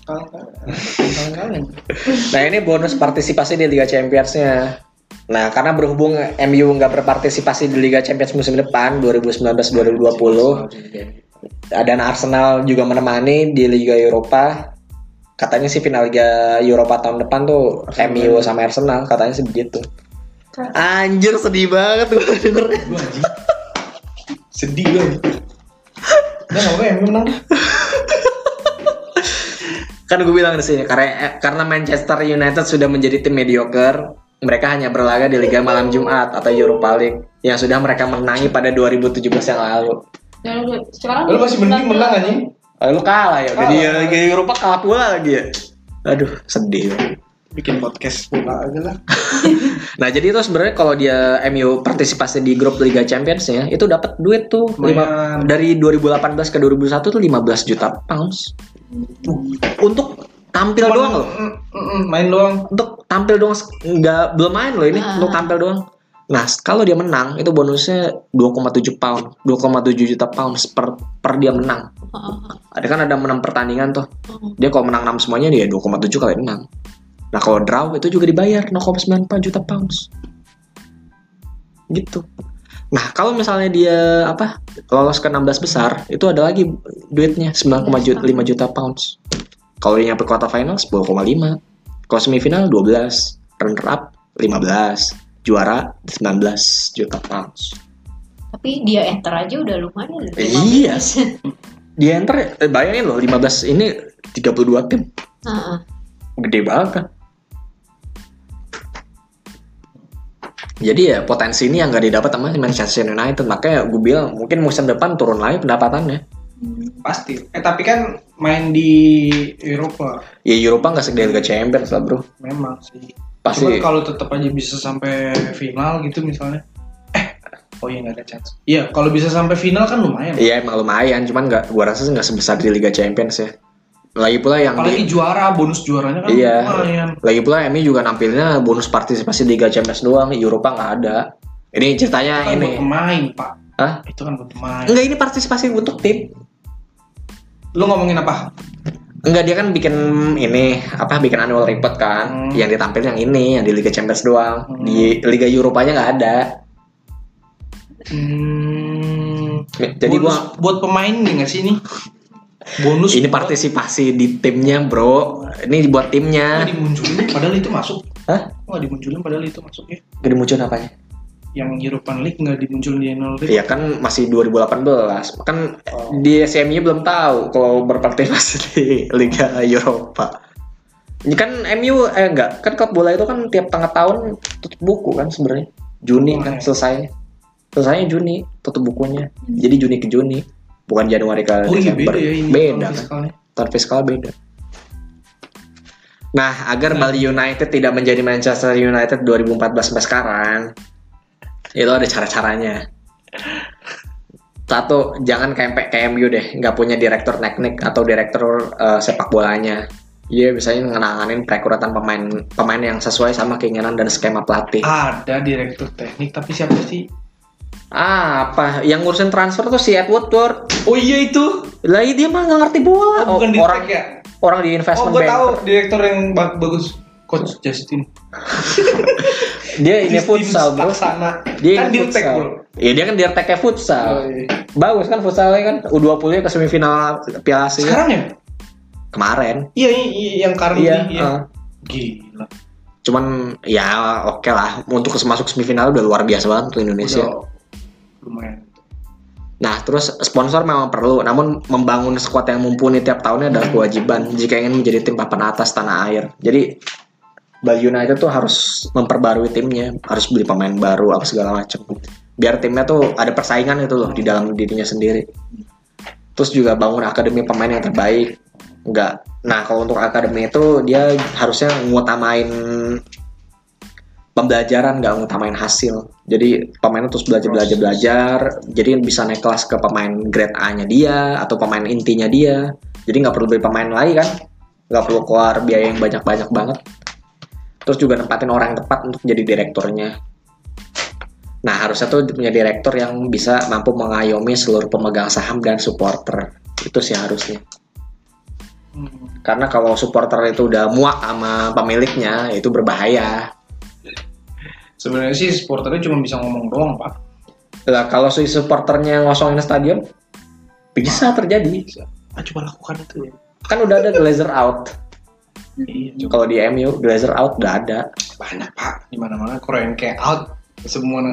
S2: kaleng
S1: Nah ini bonus partisipasi di Liga Champions-nya. Nah karena berhubung MU nggak berpartisipasi di Liga Champions musim depan 2019-2020 dan Arsenal juga menemani di Liga Eropa. Katanya sih final Liga Eropa tahun depan tuh MU sama Arsenal katanya sih begitu. Anjir sedih banget gue denger.
S2: Gue anjing. Sedih gue. Udah nggak apa-apa yang menang.
S1: Kan gue bilang di sini karena eh, karena Manchester United sudah menjadi tim mediocre, mereka hanya berlaga di Liga Malam Jumat atau Europa League yang sudah mereka menangi pada 2017 yang lalu.
S4: Dan Ya, lu sekarang
S2: Lu masih mending menang anjing.
S1: Oh, lu kalah ya? Udah
S2: Kalah.
S1: di Liga Eropa kalah pula lagi ya? Aduh, sedih.
S2: Bikin podcast pula aja lah.
S1: Nah, jadi itu sebenarnya kalau dia MU partisipasi di grup Liga Champions ya, itu dapat duit tuh lima,
S2: Lumayan.
S1: dari 2018 ke 2021 tuh 15 juta pounds. Untuk tampil doang loh.
S2: Mm, mm, mm, Main doang.
S1: Untuk tampil doang se- nggak belum main loh ini,
S3: Ah.
S1: untuk tampil doang. Nah, kalau dia menang itu bonusnya 2,7 pound, 2,7 juta pounds per per dia menang. Ada kan ada menang pertandingan tuh. dia kalau menang 6 semuanya dia 2,7 kali 6 nah kalau draw itu juga dibayar 0,94 juta pounds gitu nah kalau misalnya dia apa lolos ke 16 besar itu ada lagi duitnya 9,5 juta pounds kalau dia nyampe kuarter final 10,5 kalau semifinal 12 runner up 15 juara 19 juta pounds
S3: tapi dia enter aja udah lumayan ya. loh.
S1: Iya.
S3: 15.
S1: dia enter eh, bayangin loh 15 ini 32 tim
S3: Heeh.
S1: gede banget kan. Jadi ya potensi ini yang gak didapat sama Manchester United makanya gue bilang mungkin musim depan turun lagi pendapatannya.
S2: Pasti. Eh tapi kan main di Eropa
S1: Ya Eropa nggak segede Liga Champions lah bro.
S2: memang sih.
S1: Pasti.
S2: Cuman kalau tetap aja bisa sampai final gitu misalnya. Eh, oh iya nggak ada chance. Iya, kalau bisa sampai final kan lumayan.
S1: Iya emang lumayan cuman nggak gue rasa sih nggak sebesar di Liga Champions ya. Lagi pula yang
S2: Apalagi
S1: di,
S2: juara, bonus juaranya kan
S1: Iya.
S2: lumayan.
S1: lagi pula MU juga nampilnya bonus partisipasi Liga Champions doang Eropa nggak ada. Ini ceritanya
S2: Itu kan
S1: ini.
S2: buat pemain, Pak.
S1: Hah?
S2: Itu kan buat pemain.
S1: Enggak ini partisipasi untuk tim.
S2: Lu ngomongin apa?
S1: Enggak dia kan bikin ini apa bikin annual report kan
S2: Hmm.
S1: yang ditampil yang ini yang di Liga Champions doang
S2: Hmm.
S1: di Liga Europanya nggak ada
S2: Hmm,
S1: Jadi gua
S2: bonus buat pemain nih nggak sih ini? Bonus
S1: ini partisipasi di timnya, Bro. Ini buat
S2: nggak
S1: timnya.
S2: dimunculin padahal itu masuk.
S1: Hah?
S2: Nggak dimunculin padahal itu masuk ya.
S1: Gede muncul apanya?
S2: Yang European League nggak dimunculin di Annual League.
S1: Iya kan masih 2018. Kan
S2: Oh.
S1: di SMI belum tahu kalau berpartisipasi di Liga Eropa. Ini kan MU eh enggak, kan klub bola itu kan tiap tengah tahun tutup buku kan sebenarnya. Juni kan selesai. Selesainya Juni tutup bukunya. Jadi Juni ke Juni, bukan Januari ke
S2: Hmm. Oh iya
S1: Desember.
S2: beda ya ini.
S1: Beda
S2: tahun
S1: kan.
S2: fiskalnya.
S1: Tahun fiskal beda. Nah, agar
S2: Hmm.
S1: Bali United tidak menjadi Manchester United 2014 sampai sekarang, itu ada cara-caranya. Satu, jangan kayak KMU deh, nggak punya direktur teknik atau direktur eh, sepak bolanya. Dia biasanya ngenanganin perekrutan pemain pemain yang sesuai sama keinginan dan skema pelatih.
S2: Ada direktur teknik tapi siapa sih?
S1: Ah, apa? Yang ngurusin transfer tuh si Ed Woodward.
S2: Oh iya itu.
S1: Lah iya, dia mah nggak ngerti bola.
S2: Oh, bukan di
S1: orang
S2: ya.
S1: orang di
S2: Oh
S1: investment
S2: gue
S1: bank.
S2: tahu direktur yang ba- bagus. Coach Justin.
S1: Dia ini
S2: Justin
S1: futsal, bro.
S2: Staksana.
S1: Dia
S2: kan
S1: ini
S2: dirtek
S1: futsal.
S2: bro.
S1: Iya, dia kan dirteknya futsal.
S2: Oh, iya.
S1: Bagus kan futsalnya kan U20 ke semifinal Piala Asia
S2: Sekarang ya?
S1: kemarin.
S2: Iya, iya, iya, yang currently
S1: Iya,
S2: iya.
S1: heeh.
S2: Gila.
S1: Cuman ya oke lah untuk masuk semifinal udah luar biasa banget tuh Indonesia.
S2: Udah lumayan.
S1: Nah, terus sponsor memang perlu, namun membangun skuad yang mumpuni tiap tahunnya
S2: Hmm.
S1: adalah kewajiban jika ingin menjadi tim papan atas tanah air. Jadi Bali United tuh harus memperbarui timnya, harus beli pemain baru apa segala macam. Biar timnya tuh ada persaingan itu loh di dalam dirinya sendiri. Terus juga bangun akademi pemain yang terbaik. Enggak. Nah, kalau untuk akademi itu dia harusnya ngutamain pembelajaran nggak ngutamain hasil jadi pemainnya terus belajar belajar belajar jadi bisa naik kelas ke pemain grade A nya dia atau pemain intinya dia jadi nggak perlu beli pemain lagi kan nggak perlu keluar biaya yang banyak banyak banget terus juga nempatin orang yang tepat untuk jadi direkturnya nah harusnya tuh punya direktur yang bisa mampu mengayomi seluruh pemegang saham dan supporter itu sih harusnya
S2: Hmm.
S1: karena kalau supporter itu udah muak sama pemiliknya itu berbahaya
S2: Sebenarnya sih supporternya cuma bisa ngomong doang, Pak.
S1: Lah kalau si supporternya ngosongin stadion bisa terjadi.
S2: Ah, coba lakukan itu ya.
S1: Kan udah ada Glazer out.
S2: Iya, coba.
S1: Kalau di MU Glazer out udah ada.
S2: Banyak, Pak. Di mana-mana Korean kayak out semua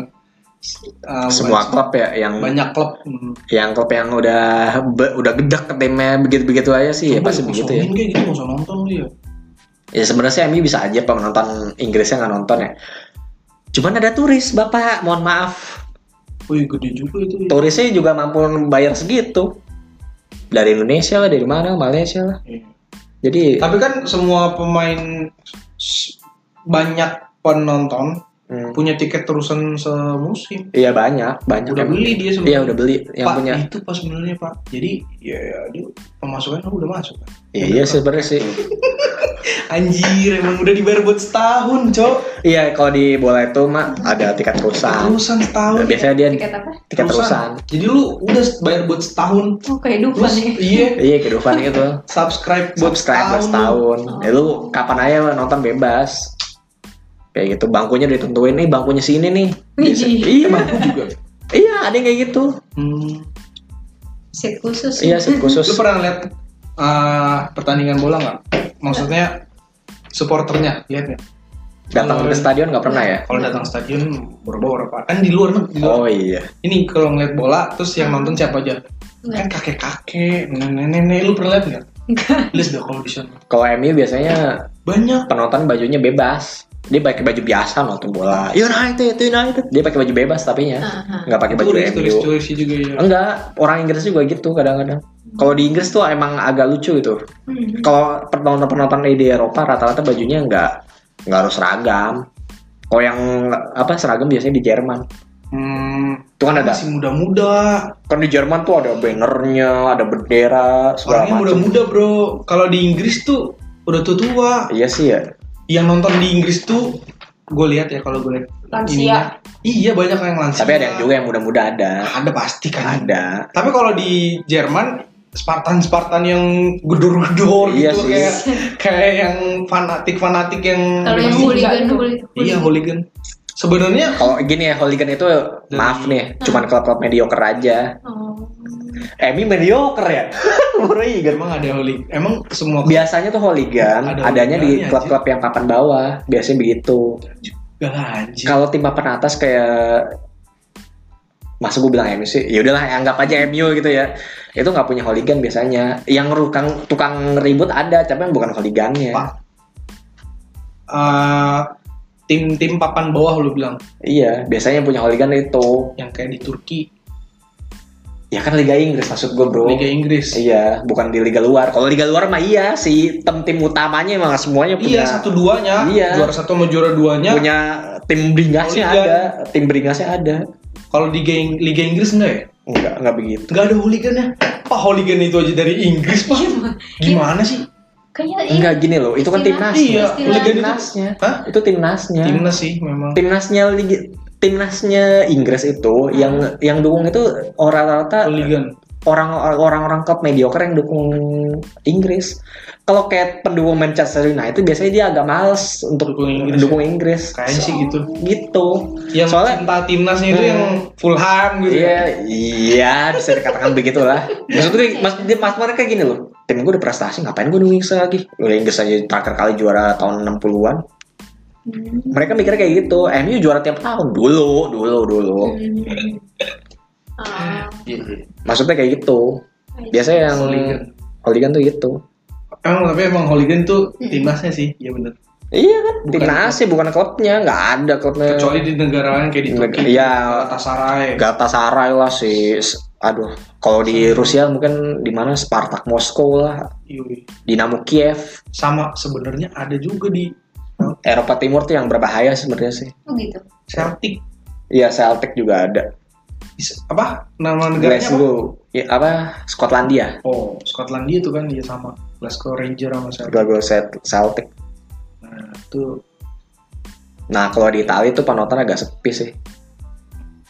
S2: eh,
S1: Semua klub ya yang
S2: banyak klub hmm.
S1: yang klub yang udah be- udah gedak ke timnya begitu-begitu aja sih ya
S2: Coba
S1: pasti
S2: dikosongin
S1: begitu ya.
S2: kayak gitu nggak usah nonton dia
S1: Ya sebenarnya MU bisa aja penonton Inggrisnya nggak nonton ya. Cuman ada turis, Bapak. Mohon maaf.
S2: wih gede juga itu ya.
S1: Turisnya juga mampu bayar segitu. Dari Indonesia lah, dari mana, Malaysia lah.
S2: Iya.
S1: Jadi,
S2: tapi kan semua pemain s- banyak penonton
S1: hmm,
S2: punya tiket terusan semusim
S1: iya banyak, banyak.
S2: udah
S1: emang.
S2: beli dia sebenarnya
S1: Iya udah beli yang
S2: pak,
S1: punya.
S2: itu pas sebenarnya pak jadi ya, ya dia pemasukannya udah masuk kan
S1: Iya, iya sih, sebenarnya sih.
S2: anjir emang udah dibayar buat setahun cok
S1: Iya, kalau di bola itu mah ada tiket terusan.
S2: terusan setahun
S1: Biasanya dia
S3: tiket apa?
S1: tiket terusan.
S2: jadi lu udah bayar buat setahun
S3: Oh kehidupan
S2: terus
S3: ya.
S2: iya
S1: Iya, kehidupan itu.
S2: subscribe buat
S1: Subscribe
S2: setahun,
S1: setahun. Ya lu kapan aja lu nonton bebas. Kayak gitu, bangkunya ditentuin nih, bangkunya sini nih. Biasa-
S3: Wih.
S1: Iya,
S2: Emang aku juga
S1: iya, ada yang kayak gitu.
S2: hmm.
S3: Seat khusus. ya.
S1: Iya, sih
S2: Lu
S1: khusus.
S2: pernah lihat eh, pertandingan bola nggak? Maksudnya supporternya lihat nggak?
S1: Datang ke stadion nggak pernah ya?
S2: Kalau datang stadion berapa berapa? Kan di luar kan? Di
S1: Oh
S2: luar.
S1: iya.
S2: Ini kalau ngeliat bola terus yang nonton siapa aja? Kan
S3: Enggak.
S2: kakek-kakek, nenek-nenek. Lu pernah lihat nggak? Lihat dah kalau di sana
S1: Kalau MU biasanya
S2: banyak.
S1: penonton bajunya bebas. Dia pakai baju biasa nonton bola. United, United. Dia pakai baju bebas tapi ya.
S3: Aha.
S1: Nggak pakai baju
S2: Ah. Turis, turis,
S1: MU.
S2: turis juga ya.
S1: Enggak, orang Inggris juga gitu kadang-kadang. Kalau di Inggris tuh emang agak lucu gitu.
S3: Hmm.
S1: Kalau penonton-penonton di Eropa rata-rata bajunya enggak enggak harus seragam. Kalau yang apa seragam biasanya di Jerman.
S2: Hmm,
S1: Itu kan ada
S2: masih muda-muda.
S1: kan di Jerman tuh ada bannernya, ada bendera, segala
S2: Orangnya
S1: macam.
S2: muda-muda bro. Kalau di Inggris tuh udah tua-tua.
S1: Iya sih ya.
S2: Yang nonton di Inggris tuh gue lihat ya kalau gue lihat
S4: Lansia.
S2: ininya. Iya banyak yang lansia.
S1: Tapi ada yang juga yang muda-muda ada.
S2: Ada pasti kan.
S1: Ada.
S2: Tapi kalau di Jerman Spartan-Spartan yang gedor-gedor
S1: Iya
S2: gitu
S1: sih.
S2: kayak kayak yang fanatik-fanatik yang
S3: Kalau yang
S4: Masih
S3: hooligan
S4: juga.
S3: hooligan.
S2: Iya hooligan. Sebenarnya
S1: Kalau gini ya hooligan itu
S2: Hmm.
S1: maaf nih, cuman klub-klub mediocre aja.
S3: Oh.
S1: Emi mediocre ya. Baru ingat.
S2: emang ada hooligan. Emang semua
S1: Biasanya tuh hooligan
S2: Oh. Ada
S1: adanya di
S2: hooligannya,
S1: klub-klub yang papan bawah, biasanya begitu.
S2: Gak lah anjing.
S1: Kalau tim papan atas kayak masa gue bilang MU sih ya udahlah anggap aja MU gitu ya itu nggak punya hooligan biasanya yang tukang tukang ribut ada tapi yang bukan hooligannya
S2: Pak. Eh, tim-tim papan bawah lu bilang
S1: iya biasanya yang punya hooligan itu
S2: yang kayak di Turki,
S1: ya kan Liga Inggris maksud gue bro
S2: Liga Inggris.
S1: Iya, bukan di liga luar. Kalau liga luar mah iya si tim-tim utamanya emang semuanya punya
S2: Iya, satu duanya,
S1: Iya.
S2: juara satu sama juara duanya.
S1: punya tim beringasnya
S2: Hooligan.
S1: ada, tim beringasnya ada.
S2: Kalau di Liga- Liga Inggris enggak ya?
S1: Enggak, enggak begitu.
S2: Enggak ada hooligan ya. Pak hooligan itu aja dari Inggris, Pak.
S3: Iya, Mak.
S2: Gimana sih?
S3: Kayaknya iya.
S1: Enggak gini loh, itu kan timnas.
S3: Timnas.
S2: Iya,
S3: Istilah-
S2: hooligan itu.
S1: Timnasnya.
S2: Hah?
S1: Itu timnasnya.
S2: iya. Timnas sih memang.
S1: Timnasnya liga timnasnya Inggris
S2: Hmm.
S1: itu yang yang dukung itu orang rata
S2: Hooligan.
S1: orang orang-orang klub mediocre yang dukung Inggris. Kalau kayak pendukung Manchester United biasanya dia agak males untuk
S2: Dukung
S1: dukung
S2: Inggris. ya?
S1: Inggris.
S2: Kayaknya sih gitu.
S1: gitu.
S2: Yang
S1: Soalnya-
S2: cinta timnasnya itu
S1: Hmm.
S2: yang Fulham gitu. ya.
S1: Iya, iya bisa dikatakan begitulah. Maksud gue, mas, dia- mas mereka kayak gini loh. Tim gue udah prestasi, ngapain gue nungguin lagi? Udah Inggris aja terakhir kali juara tahun 60-an.
S3: Hmm.
S1: Mereka mikirnya kayak gitu. MU juara tiap tahun dulu, dulu, dulu.
S3: Hmm. Ah,
S2: Iya,
S1: Maksudnya kayak gitu.
S3: I
S1: Biasanya yang
S2: Hooligan.
S1: hooligan tuh gitu.
S2: Emang tapi emang hooligan tuh timnasnya sih, iya bener.
S1: Iya kan?
S2: Bukan
S1: Timnas sih bukan klubnya, nggak ada klubnya.
S2: Kecuali di negara lain kayak di
S1: Neg-
S2: Turki,
S1: iya.
S2: Galatasaray.
S1: Galatasaray lah si aduh kalau di Rusia mungkin di mana Spartak Moskow lah
S2: Yui.
S1: Dinamo Kiev
S2: Sama sebenarnya ada juga di
S1: Eropa Timur tuh yang berbahaya sebenarnya sih
S3: see. Oh gitu.
S2: Celtic.
S1: Iya Celtic juga ada
S2: Is- Apa nama negaranya? Apa?
S1: Glasgow ya, apa Skotlandia
S2: Oh, Skotlandia itu kan dia sama Glasgow Ranger sama Celtic.
S1: Glasgow Celt- Celtic
S2: Nah, itu
S1: nah kalau di Italia tuh penonton agak sepi sih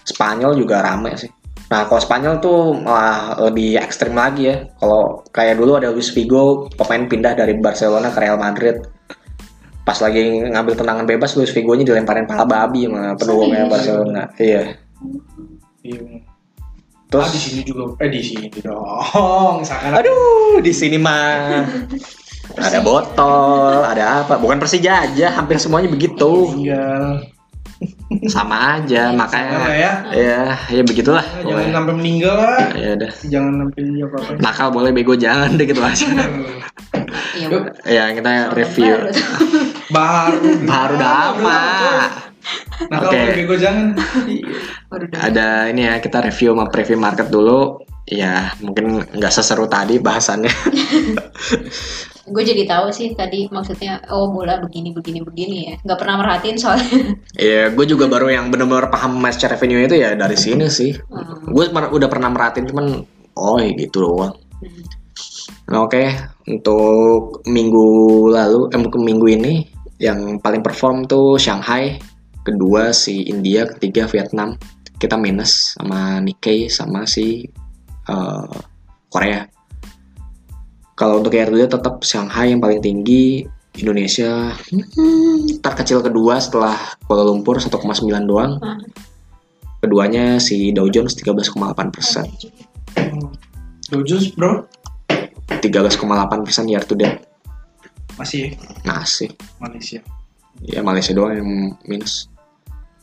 S1: Spanyol juga rame sih nah kalau Spanyol tuh malah lebih ekstrim lagi ya kalau kayak dulu ada Luis Figo pemain pindah dari Barcelona ke Real Madrid pas lagi ngambil tendangan bebas Luis Figo-nya dilemparin pala babi sama pendukungnya
S3: Serius?
S1: Barcelona iya
S2: iya. Ah, di
S1: terus
S2: sini juga eh di sini dong. Seakan
S1: Aduh, di sini mah ada botol, ada apa? Bukan Persija aja, hampir semuanya begitu.
S2: tinggal.
S1: Sama aja,
S2: Jangan lah
S1: makanya
S2: ya. Ah,
S1: ya, ya begitulah.
S2: Jangan
S1: pokoknya.
S2: sampai meninggal lah.
S1: Ya udah.
S2: Jangan sampai apa-apa.
S1: Nakal boleh bego jangan deh gitu aja.
S3: Iya.
S2: Yuk.
S1: ya, kita review.
S2: Baru.
S1: Baru dama.
S2: Nah, kalau
S1: Oke.
S2: okay. gue jangan.
S3: Baru dengar.
S1: Ada ini ya, kita review sama preview market dulu. Ya, mungkin nggak seseru tadi bahasannya.
S3: Gue jadi tahu sih tadi maksudnya oh bola begini begini begini ya. Gak pernah merhatiin soalnya.
S1: Ya, gue juga baru yang benar-benar paham match revenue itu ya dari sini sih.
S3: Hmm.
S1: Gue mer- udah pernah merhatiin cuman, oh ya gitu doang. Nah, Oke, untuk minggu lalu, eh mungkin minggu ini yang paling perform tuh Shanghai, kedua si India, ketiga Vietnam. Kita minus sama Nikkei sama si eh, Korea. Kalau untuk yang kedua tetap Shanghai yang paling tinggi, Indonesia hmm, terkecil kedua setelah Kuala Lumpur 1,9 doang.
S3: Hmm.
S1: Keduanya si Dow Jones 13,8 persen,
S2: Dojos bro
S1: 13,8 persen year to date. Nah,
S2: masih
S1: Masih.
S2: Malaysia.
S1: Ya Malaysia doang yang minus.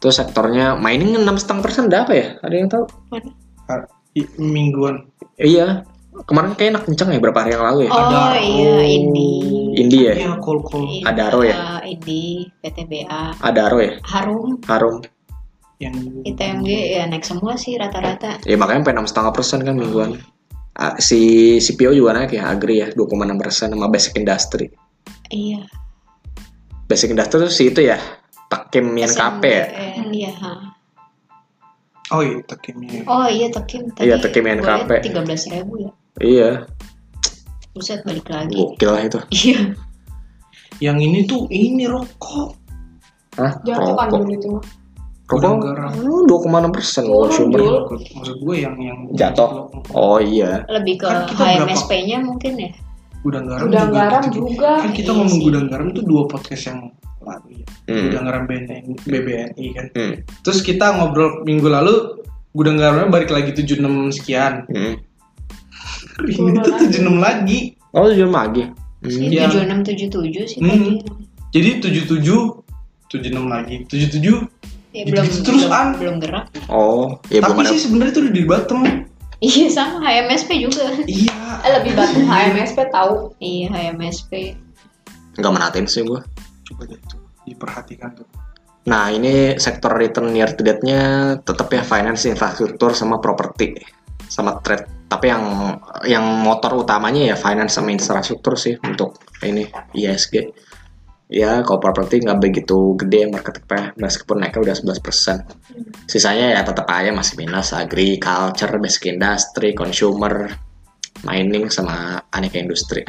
S1: Terus sektornya mining enam setengah persen ada apa ya? Ada yang tahu?
S2: I- mingguan.
S1: Iya. Kemarin kayak enak kenceng ya berapa hari yang lalu ya?
S3: Oh iya ini.
S1: India ya?
S2: Iya call call
S3: Ini,
S1: Adaro ya?
S3: uh, ini PTBA
S1: Ada Aro ya?
S3: Harum
S1: Harum.
S2: yang
S3: ITMG ya naik semua sih rata-rata.
S1: Ya makanya sampai enam setengah persen kan mingguan. Ah, Si CPO juga naik ya, Agri ya 2,6 persen sama Basic Industry.
S3: Iya.
S1: Basic Industry tuh si itu ya, Takim yang KP ya.
S3: SMBN, Iya. ha.
S2: Oh iya tekimnya.
S3: Oh iya tekim
S1: Iya, Tekim NKP.
S3: Tiga belas ribu ya.
S1: Iya,
S3: Buset balik lagi.
S1: gokil lah itu.
S3: Iya.
S2: Yang ini tuh ini rokok.
S1: Hah?
S4: Jangan
S1: Rokok.
S4: kan itu mah.
S1: Rokok?
S2: Gara-gara.
S1: Hmm, 2,6 persen loh,
S4: Turun,
S1: sumber.
S4: Jul.
S2: Iya, Maksud gue yang yang
S1: Jatuh. Oh iya.
S3: Lebih ke
S2: Kan kita Hmm. berapa?
S3: HMSP-nya mungkin ya.
S2: Gudang garam.
S4: Gudang
S2: juga
S4: garam
S2: gitu-gitu.
S4: juga.
S2: Kan kita
S3: Iya
S2: ngomong
S3: sih.
S2: gudang garam tuh dua podcast yang ya. lagi
S1: Hmm.
S2: Gudang BNI, BBNI kan
S1: Hmm.
S2: terus kita ngobrol minggu lalu Gudang garamnya balik lagi 76 sekian
S1: Hmm.
S2: ini tuh 76 lagi
S1: Oh, jam lagi. Hmm.
S2: Iya.
S3: Ini tujuh enam tujuh tujuh sih
S2: Hmm.
S3: tadi.
S2: jadi 77 76 lagi 77
S3: Ya,
S2: Gitu
S3: belum
S2: terus,
S3: belum,
S2: An.
S3: belum gerak.
S1: Oh, ya
S2: tapi
S1: belum ada.
S2: sih sebenarnya tuh udah di bottom
S3: Iya sama HMSP juga.
S2: iya
S4: Eh, lebih batu HMSP tahu.
S3: Iya HMSP.
S1: Enggak menatin sih gua.
S2: coba deh coba diperhatikan tuh
S1: Nah, ini sektor return year to date-nya tetap ya finance, infrastruktur sama properti sama trade. Tapi yang yang motor utamanya ya finance sama infrastruktur sih untuk ini ISG. Ya, kalau properti nggak begitu gede market cap meskipun naiknya udah 11%. Sisanya ya tetap aja masih minus agri, culture, basic industry, consumer, mining sama aneka industri.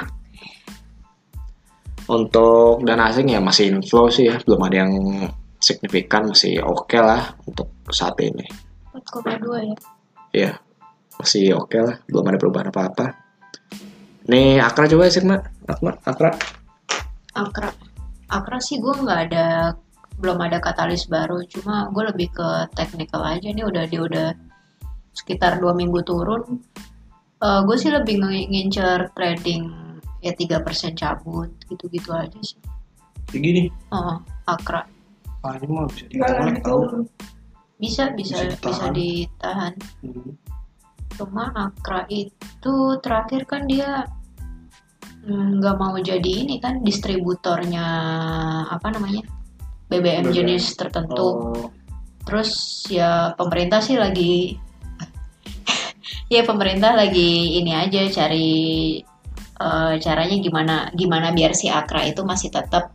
S1: Untuk dana asing ya masih inflow sih ya, belum ada yang signifikan masih oke lah untuk saat ini.
S3: 4,2 ya.
S1: Iya, masih oke lah, belum ada perubahan apa-apa. Nih Akra coba sih, Mak. Akra, Akra.
S3: Akra. Akra sih gue nggak ada belum ada katalis baru cuma gue lebih ke technical aja nih udah dia udah sekitar dua minggu turun gue sih lebih nge- ngincer trading ya 3% cabut gitu-gitu aja sih
S2: kayak gini
S3: oh, akra
S2: ah ini mah bisa
S4: Jangan
S2: ditolak tau
S4: gitu.
S3: bisa bisa
S2: Bisa
S3: bisa
S2: ditahan.
S3: ditahan,
S2: Hmm.
S3: cuma akra itu terakhir kan dia mm, nggak mau jadi ini kan distributornya apa namanya BBM
S2: BBM.
S3: jenis tertentu
S2: Oh,
S3: Terus ya pemerintah sih lagi ya pemerintah lagi ini aja cari eh, caranya gimana gimana biar si Akra itu masih tetap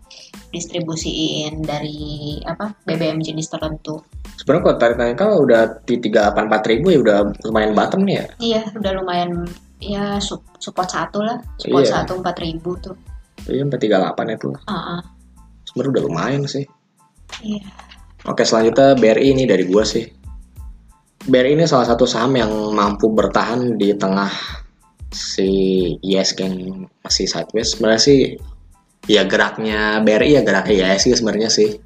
S3: distribusiin dari apa BBM jenis tertentu.
S1: Sebenarnya kalau tarik tarik kalau udah di 384 ribu ya udah lumayan bottom nih ya.
S3: Iya, udah lumayan ya sup- support satu lah, support
S1: Iya.
S3: satu empat ribu tuh.
S1: Iya, sampai 38 itu.
S3: Ah, ah.
S1: Sebenarnya udah lumayan sih.
S3: Iya.
S1: Oke, selanjutnya BRI ini dari gua sih. BRI ini salah satu saham yang mampu bertahan di tengah si ISG yang masih sideways. Sebenarnya sih ya geraknya BRI ya geraknya ISG sebenarnya sih.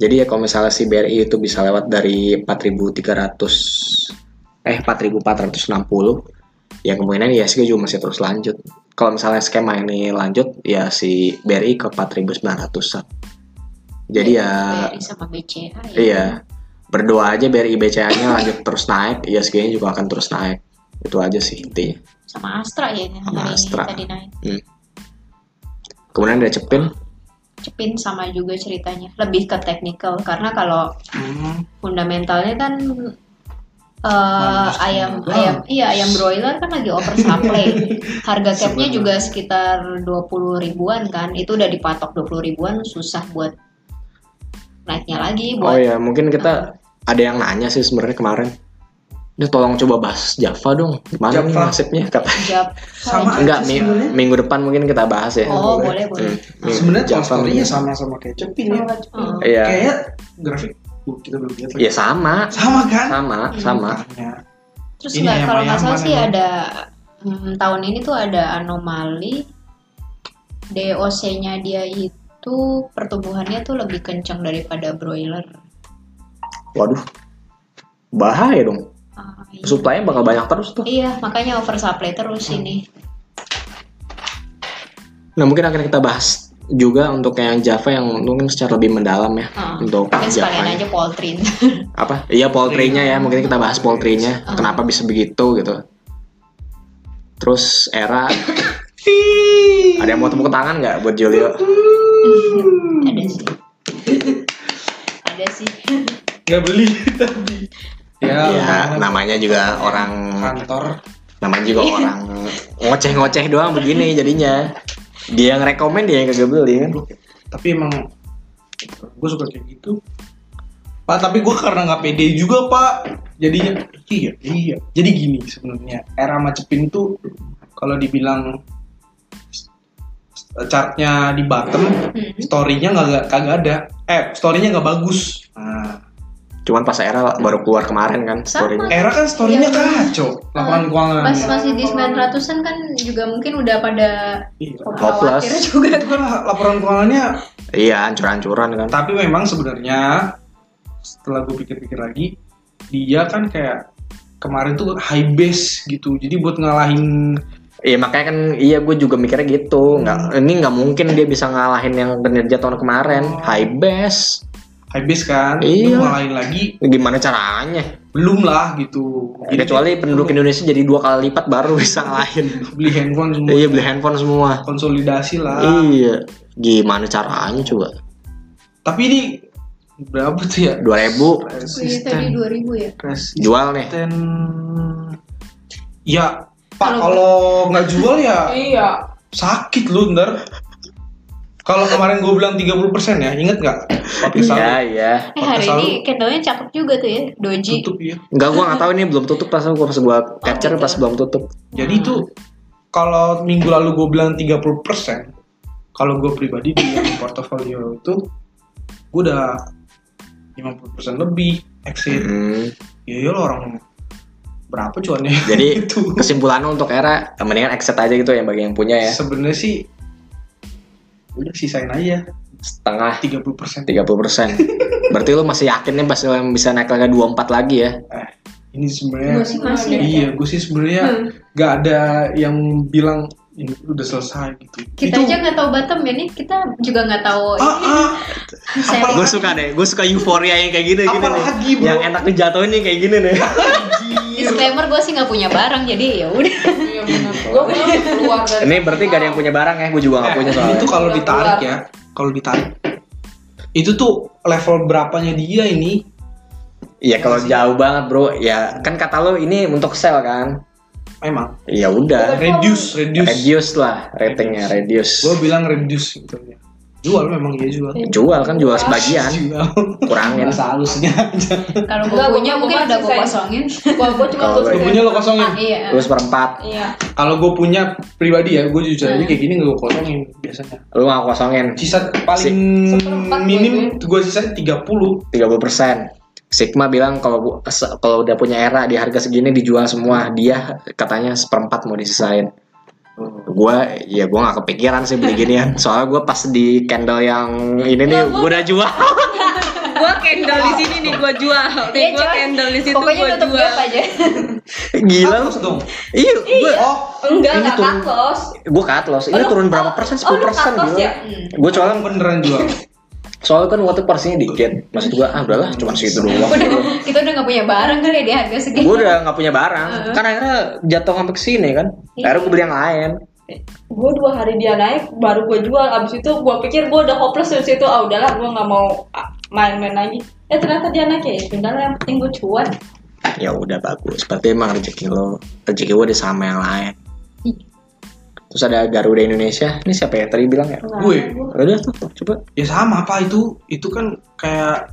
S1: Jadi ya kalau misalnya si BRI itu bisa lewat dari 4.300 eh 4.460 ya kemungkinan ISG juga masih terus lanjut. Kalau misalnya skema ini lanjut ya si BRI ke 4.900-an. Jadi ya
S3: BRI sama BCA ya.
S1: Iya. Berdoa aja biar IBCA-nya lanjut terus naik, ISG-nya juga akan terus naik. Itu aja sih intinya.
S3: Sama Astra ya yang
S1: Sama
S3: hari ini
S1: Astra.
S3: tadi naik.
S1: Kemudian ada Cepin.
S3: Cepin sama juga ceritanya, lebih ke teknikal karena kalau
S2: hmm.
S3: fundamentalnya kan eh,
S2: Mampus
S3: ayam
S2: juga.
S3: ayam iya ayam broiler kan lagi oversupply harga capnya juga sekitar 20 ribuan kan itu udah dipatok 20 ribuan susah buat naiknya lagi
S1: Oh
S3: buat
S1: ya, mungkin kita ada yang nanya sih sebenarnya kemarin. Ini tolong coba bahas Java dong. Gimana nih
S2: Java.
S1: nasibnya kata.
S3: jab
S2: Sama
S3: gitu.
S1: Enggak,
S2: aja
S1: mi-
S2: sebenarnya. Ah,
S1: minggu depan mungkin kita bahas ya.
S3: Oh, boleh, boleh.
S1: minggu-
S2: sebenarnya
S1: Nah, Java
S2: story-nya
S1: mungkin.
S2: sama-sama kayak cepin ya
S3: Oh,
S1: Iya.
S2: kayak grafik uh, kita belum lihat lagi
S1: Ya sama,
S2: sama kan
S1: sama,
S3: Hmm.
S1: sama.
S2: Makanya.
S3: terus
S2: Ini
S3: nggak
S2: ayam-
S3: kalau nggak salah
S2: ayaman
S3: sih
S2: emang.
S3: ada mm, tahun ini tuh ada anomali DOC-nya dia itu pertumbuhannya tuh lebih kencang daripada broiler.
S2: Hmm.
S1: Waduh. Bahaya dong.
S3: Ah, iya.
S1: Supply-nya bakal banyak terus tuh.
S3: Iya, makanya oversupply terus
S1: Hmm.
S3: ini.
S1: Nah, mungkin akan kita bahas juga untuk yang Java yang mungkin secara lebih mendalam ya.
S3: Ah,
S1: Untuk
S3: mungkin sekalian
S1: Java.
S3: aja poultry.
S1: apa iya poultry-nya ya mungkin kita bahas poultry-nya
S3: Ah.
S1: kenapa bisa begitu gitu terus era ada yang mau tepuk tangan nggak buat Julio
S3: Ada sih. Ada sih.
S2: nggak beli tadi ya,
S1: ya
S2: lumayan.
S1: namanya juga orang
S2: kantor
S1: namanya juga orang ngoceh-ngoceh doang begini jadinya dia yang rekomen dia yang kagak beli kan
S2: tapi emang gue suka kayak gitu pak tapi gue karena nggak pede juga pak jadinya iya iya jadi gini sebenarnya era macepin tuh kalau dibilang chartnya di bottom
S3: Hmm.
S2: storynya nggak kagak ada eh storynya nggak bagus nah
S1: Cuman pas era baru keluar kemarin kan
S3: Sama.
S1: story.
S2: Era kan story-nya
S3: Iya.
S2: kacau. Laporan
S1: Hmm.
S2: keuangan.
S3: Pas masih di 900-an kan juga mungkin udah pada
S2: Iya.
S3: khawatir
S1: Hopeless.
S3: juga
S2: Itu kan laporan keuangannya.
S1: Iya, hancur-hancuran kan.
S2: Tapi memang sebenarnya setelah gue pikir-pikir lagi, dia kan kayak kemarin tuh high base gitu. Jadi buat ngalahin
S1: Iya makanya kan iya gue juga mikirnya gitu. Nggak, ini nggak mungkin dia bisa ngalahin yang kinerja tahun kemarin.
S2: Oh.
S1: High base.
S2: high base kan,
S1: Iya.
S2: lu ngalahin lagi
S1: Gimana caranya?
S2: belum lah gitu. Jadi
S1: Kecuali penduduk Indonesia jadi dua kali lipat baru bisa ngalahin.
S2: beli handphone semua.
S1: iya beli handphone semua.
S2: konsolidasi lah.
S1: Iya. Gimana caranya coba?
S2: Tapi ini berapa tuh ya?
S1: 2000
S3: Iya tadi
S2: Resisten.
S3: 2000 ya.
S2: Resisten.
S1: jual nih.
S2: Ya, Pak
S3: Kalau-
S2: kalau nggak jual ya
S4: Iya.
S2: sakit lu ntar. Kalau kemarin gue bilang 30% ya, inget nggak? Pakai
S1: Iya,
S2: saldo
S1: iya.
S3: Eh hari
S2: Podcast
S3: ini candle-nya cakep juga tuh ya, Doji.
S2: tutup ya.
S1: Enggak gua nggak tahu ini belum tutup pas gua pas gua capture
S3: gitu.
S1: pas belum tutup.
S2: Jadi itu kalau minggu lalu gue bilang 30%, kalau gue pribadi di yang portofolio itu gue udah 50% lebih exit.
S1: Hmm. Iya.
S2: Ya ya lo orang berapa cuannya?
S1: Jadi
S2: Gitu.
S1: kesimpulannya untuk era eh, mendingan exit aja gitu ya bagi yang punya ya.
S2: Sebenarnya sih udah sisain aja
S1: Setengah
S2: 30% persen.
S1: 30%. Berarti lu masih yakin nih pasti bisa naik lagi 24 lagi ya.
S2: Ini
S3: Gue
S2: sebenarnya
S3: sih masih.
S2: iya, gue sih sebenarnya nggak ada yang bilang ini udah selesai gitu.
S3: Kita
S2: Itu-
S3: aja nggak tahu Batam ya nih, kita juga nggak tahu.
S2: ah, ah,
S3: Saya
S1: Gue suka deh, gue suka euforia yang kayak gitu, gini gini nih.
S2: Apalagi, bro.
S1: Yang enak dijatuhin nih kayak gini nih.
S3: disclaimer gue sih nggak punya barang jadi ya udah.
S4: Iya benar. Gue belum keluar dari.
S1: Ini berarti gak ada yang punya barang ya, gue juga gak
S2: Eh,
S1: punya
S2: ini
S1: soalnya.
S2: tuh kalau
S4: Udah
S2: ditarik
S4: keluar.
S2: ya, kalau ditarik itu tuh level berapanya dia ini
S1: Iya kalau jauh banget bro, ya kan kata lo ini untuk sell kan.
S2: memang
S1: Ya udah,
S2: reduce, reduce.
S1: reduce lah ratingnya, reduce.
S2: Gue bilang reduce gitu ya. Jual memang dia jual.
S1: Jual kan jual sebagian,
S2: Jual.
S1: kurangin.
S2: Bahasa halusnya aja.
S3: Kalau gue
S4: Nggak, gua
S3: punya
S4: mau
S3: mungkin
S4: makan
S3: udah gue
S4: sisain.
S3: kosongin.
S4: Gue gue cuma
S1: Kalau
S4: tuh.
S2: Gue punya lo kosongin.
S3: Ah, iya.
S1: Terus seperempat,
S4: Iya.
S2: Kalau gue punya pribadi ya, gue jujur aja kayak gini gak gue kosongin biasanya.
S1: lu mau kosongin
S2: Sisa paling
S4: Seperempat gua
S2: minim gue sisa 30
S1: 30%. Sigma bilang kalau bu- se- kalau udah punya era di harga segini dijual semua, dia katanya seperempat mau disisain. Gua ya gua nggak kepikiran sih beli ginian. Soalnya gua pas di candle yang ini nih gua udah jual.
S5: Gua candle di sini nih gua jual. Nih
S3: Iya,
S5: gua
S3: cuman
S5: candle di situ
S3: Pokoknya
S5: gua
S3: tutup
S5: jual.
S3: gap aja.
S1: Gila lu.
S2: Terus dong.
S1: Iya, gua
S2: Oh,
S4: Enggak,
S1: Ini
S4: enggak
S1: turun.
S4: kaklos.
S1: gue cut loss ini
S4: Oh, lu-
S1: turun berapa
S4: oh,
S1: persen
S4: oh,
S1: 10
S4: lu
S1: persen
S4: cut loss
S1: gitu
S4: ya?
S1: gue soalnya
S2: orang beneran jual.
S1: soalnya kan waktu porsinya dikit maksud gue ah udahlah
S4: Hmm.
S1: cuma segitu doang
S3: Kita udah nggak punya barang kali ya di harga segini.
S1: gue udah nggak punya barang kan akhirnya jatuh sampai ke sini kan
S4: Iya.
S1: akhirnya gue beli yang lain
S4: Gue dua hari dia naik, baru gue jual. Abis itu gue pikir gue udah hopeless dari situ. Ah udahlah, gue nggak mau ah, main-main lagi. Eh ternyata dia naik ya. Tinggal yang penting gue cuan.
S1: ya udah bagus berarti emang rezeki lo rezeki gue udah sama yang lain terus ada Garuda Indonesia ini siapa ya tadi bilang ya
S4: Nah,
S2: Gue
S1: udah tuh coba
S2: ya sama apa itu itu kan kayak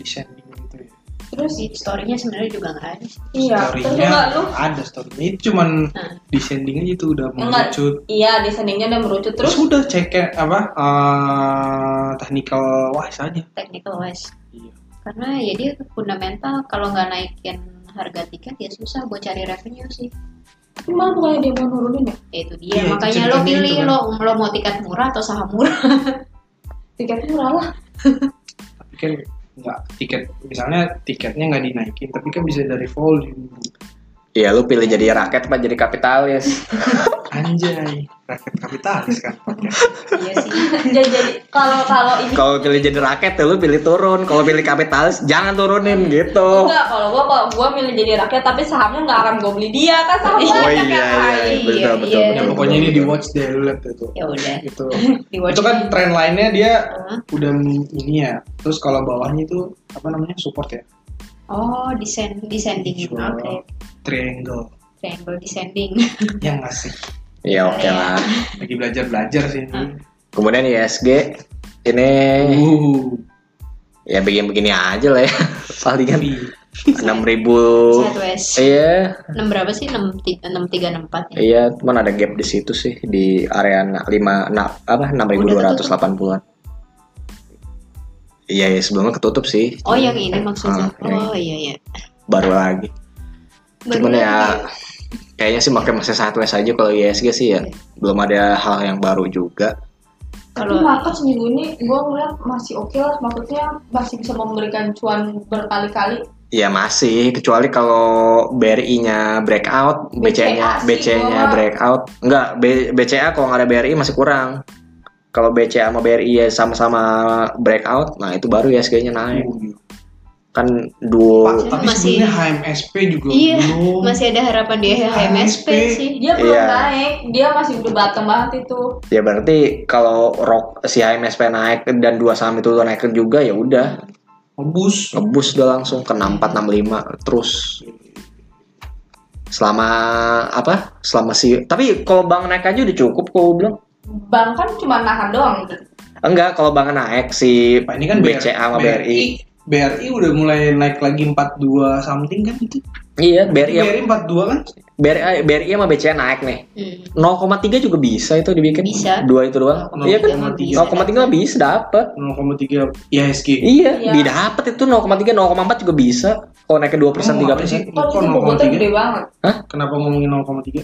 S2: descending gitu ya
S3: Terus story-nya sebenarnya juga nggak ada.
S4: Iya. Terus
S2: story-nya
S4: enggak lu? Nah.
S2: ada story-nya itu cuman descending aja tuh udah
S4: Enggak.
S2: mengecut
S4: Iya, descendingnya udah merucut
S2: terus
S4: terus.
S2: udah cek apa eh technical wise aja
S3: Technical wise.
S2: Iya.
S3: Karena ya dia fundamental kalau nggak naikin harga tiket ya susah buat cari revenue sih.
S4: Emang bukannya dia mau nurunin ya?
S3: Ya, itu dia.
S2: Iya, itu
S3: Makanya lo
S2: ceritanya
S3: pilih
S2: itu kan.
S3: lo lo mau tiket murah atau saham murah.
S4: Tiketnya murah lah.
S2: tapi kan nggak tiket misalnya tiketnya nggak dinaikin tapi kan bisa dari volume
S1: Iya lu pilih jadi rakyat apa jadi kapitalis
S2: anjay rakyat kapitalis kan
S3: iya sih.
S4: jadi jadi kalau kalau ini
S1: Kalau pilih jadi rakyat ya lu pilih turun Kalau pilih kapitalis jangan turunin gitu
S4: enggak kalau gua kalau gua milih jadi rakyat tapi sahamnya nggak akan gua beli dia kan saham
S3: Iya,
S1: Oh
S4: banyak
S1: iya
S4: yang
S1: iya
S4: lain.
S1: betul betul,
S3: iya,
S1: betul,
S3: iya.
S2: ya
S1: betul,
S2: pokoknya ini
S1: betul.
S2: di watch deh lu liat itu
S3: Ya udah.
S2: itu
S3: Di
S2: itu kan trend lainnya dia
S4: Nah.
S3: Heeh.
S2: udah ini ya terus kalau bawahnya itu apa namanya support ya
S3: Oh, descend descending. Oke.
S2: Visual triangle
S3: Triangle descending.
S2: yang masih
S1: Iya oke lah.
S2: lagi belajar belajar sih ini.
S1: Kemudian ISG ini
S2: Uh,
S1: ya begini-begini aja lah ya. Palingan
S2: tapi
S1: 6000 ribu.
S3: Sideways.
S1: Iya,
S3: 6 berapa sih? 6 6364 ya.
S1: iya, cuman ada gap di situ sih
S4: Oh,
S1: di area 5 apa 6280-an. Iya, iya sebelumnya ketutup sih.
S3: Oh yang ini maksudnya.
S1: Ah, yang ini.
S3: Oh iya iya.
S1: baru lagi. Cuman
S3: Baru-
S1: ya kayaknya sih pakai masa satu S aja kalau ISG sih
S4: Iya.
S1: ya belum ada hal yang baru juga.
S4: Tapi
S3: Kalau
S4: market seminggu ini gue ngeliat masih oke lah, maksudnya masih bisa memberikan cuan berkali-kali.
S1: Ya masih kecuali kalau BRI-nya breakout, BCA-nya
S4: BCA sih,
S1: BC-nya
S4: gua.
S1: breakout. Enggak, B- BCA kalau nggak ada BRI masih kurang. Kalau BCA sama BRI ya sama-sama breakout, nah itu baru ISG-nya naik. Kan
S2: Pak,
S1: duo
S2: uh, tapi
S3: Masih-
S2: sebenarnya HMSP juga
S3: Iya,
S2: belum.
S3: masih ada harapan di HMSP
S2: HMSP.
S3: sih.
S4: Dia belum
S1: Iya.
S4: naik, dia masih udah bottom banget itu.
S1: ya berarti kalau rock si HMSP naik dan dua saham itu naik juga ya udah
S2: Obus.
S1: ngebus udah langsung ke 6465 terus selama apa selama si tapi kalau bank naik aja udah cukup kok gua bilang
S4: Bank kan cuma nahan doang.
S1: enggak kalau bank naik si
S2: Pak, ini kan BR-
S1: BCA sama BRI
S2: BRI udah mulai naik lagi 42 something kan itu.
S1: iya BRI
S2: BRI 42 kan?
S1: BRI, BRI eh, sama BCA naik nih
S3: Hmm.
S1: 0,3 juga bisa itu dibikin
S3: Bisa.
S1: dua itu doang iya kan
S2: 0,3.
S1: 0,3 bisa dapet
S2: 0,3 IHSG.
S1: iya
S4: Iya.
S1: didapet itu 0,3 0,4 juga bisa kalau naik ke 2 persen
S2: Ngomong
S1: 3
S2: apa
S1: persen
S2: sih?
S4: Kalau
S2: Kok
S4: itu bobotnya
S2: 0,3?
S4: gede
S1: gitu.
S4: banget.
S2: Kenapa ngomongin 0,3?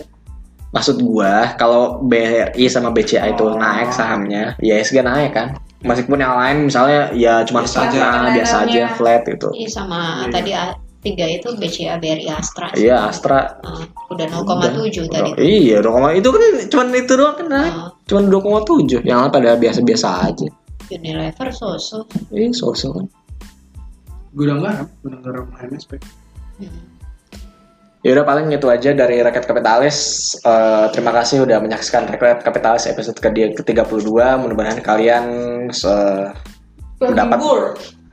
S1: Maksud gua kalau BRI sama BCA itu
S2: Oh.
S1: naik sahamnya, ya ISG naik kan. Meskipun yang lain misalnya ya cuma
S2: Biasa aja.
S3: kan
S1: setengah biasa aja
S4: Lain-lainnya.
S1: flat gitu.
S3: Iya sama
S2: Iya.
S3: tadi A- tiga itu BCA BRI Astra. sih.
S1: Iya Astra.
S3: Ah, udah 0,7 tadi.
S1: Udah- Iya dong, itu kan cuman itu doang kan naik.
S3: Ah,
S1: Cuman 2,7. Yang lain pada biasa-biasa aja.
S3: Unilever Soso.
S1: Ih, sosok kan.
S2: Gudang garam, gudang garam HMSP.
S3: Hmm.
S1: Ya udah paling itu aja dari Rakyat Kapitalis. Eh, terima kasih udah menyaksikan Rakyat Kapitalis episode ke- ke-32. Mudah-mudahan kalian eh, Mendapat
S4: Penghibur.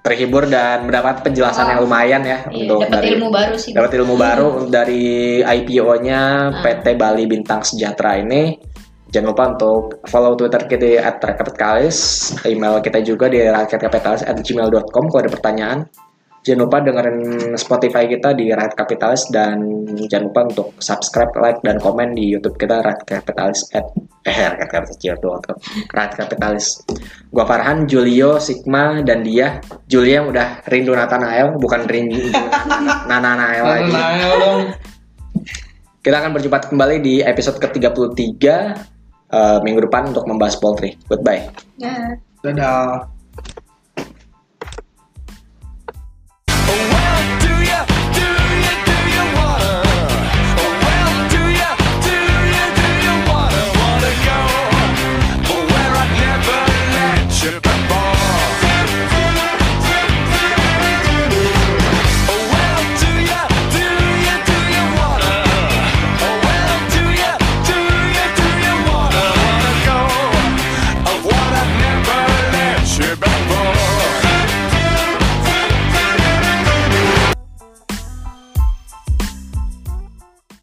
S1: terhibur dan mendapat penjelasan
S4: Ah.
S1: yang lumayan ya
S3: Iya,
S1: untuk
S3: dapat
S1: dari
S3: ilmu baru sih.
S1: dapat ilmu baru dari IPO-nya
S3: Ah.
S1: PT Bali Bintang Sejahtera ini. Jangan lupa untuk follow Twitter kita di @rakyatcapitalis, email kita juga di rakyatcapitalis@gmail.com kalau ada pertanyaan. Jangan lupa dengerin Spotify kita di Rakyat Kapitalis dan jangan lupa untuk subscribe, like, dan komen di YouTube kita Rakyat Kapitalis at eh Rakyat Kapitalis ya, doang. Rakyat Kapitalis. Gua Farhan, Julio, Sigma, dan dia. Julio yang udah rindu Nathanael, bukan rindu Nananael lagi.
S2: Nah, ya dong.
S1: Kita akan berjumpa kembali di episode ke-33 eh, minggu depan untuk membahas poultry. Goodbye.
S4: Nah.
S2: Dadah.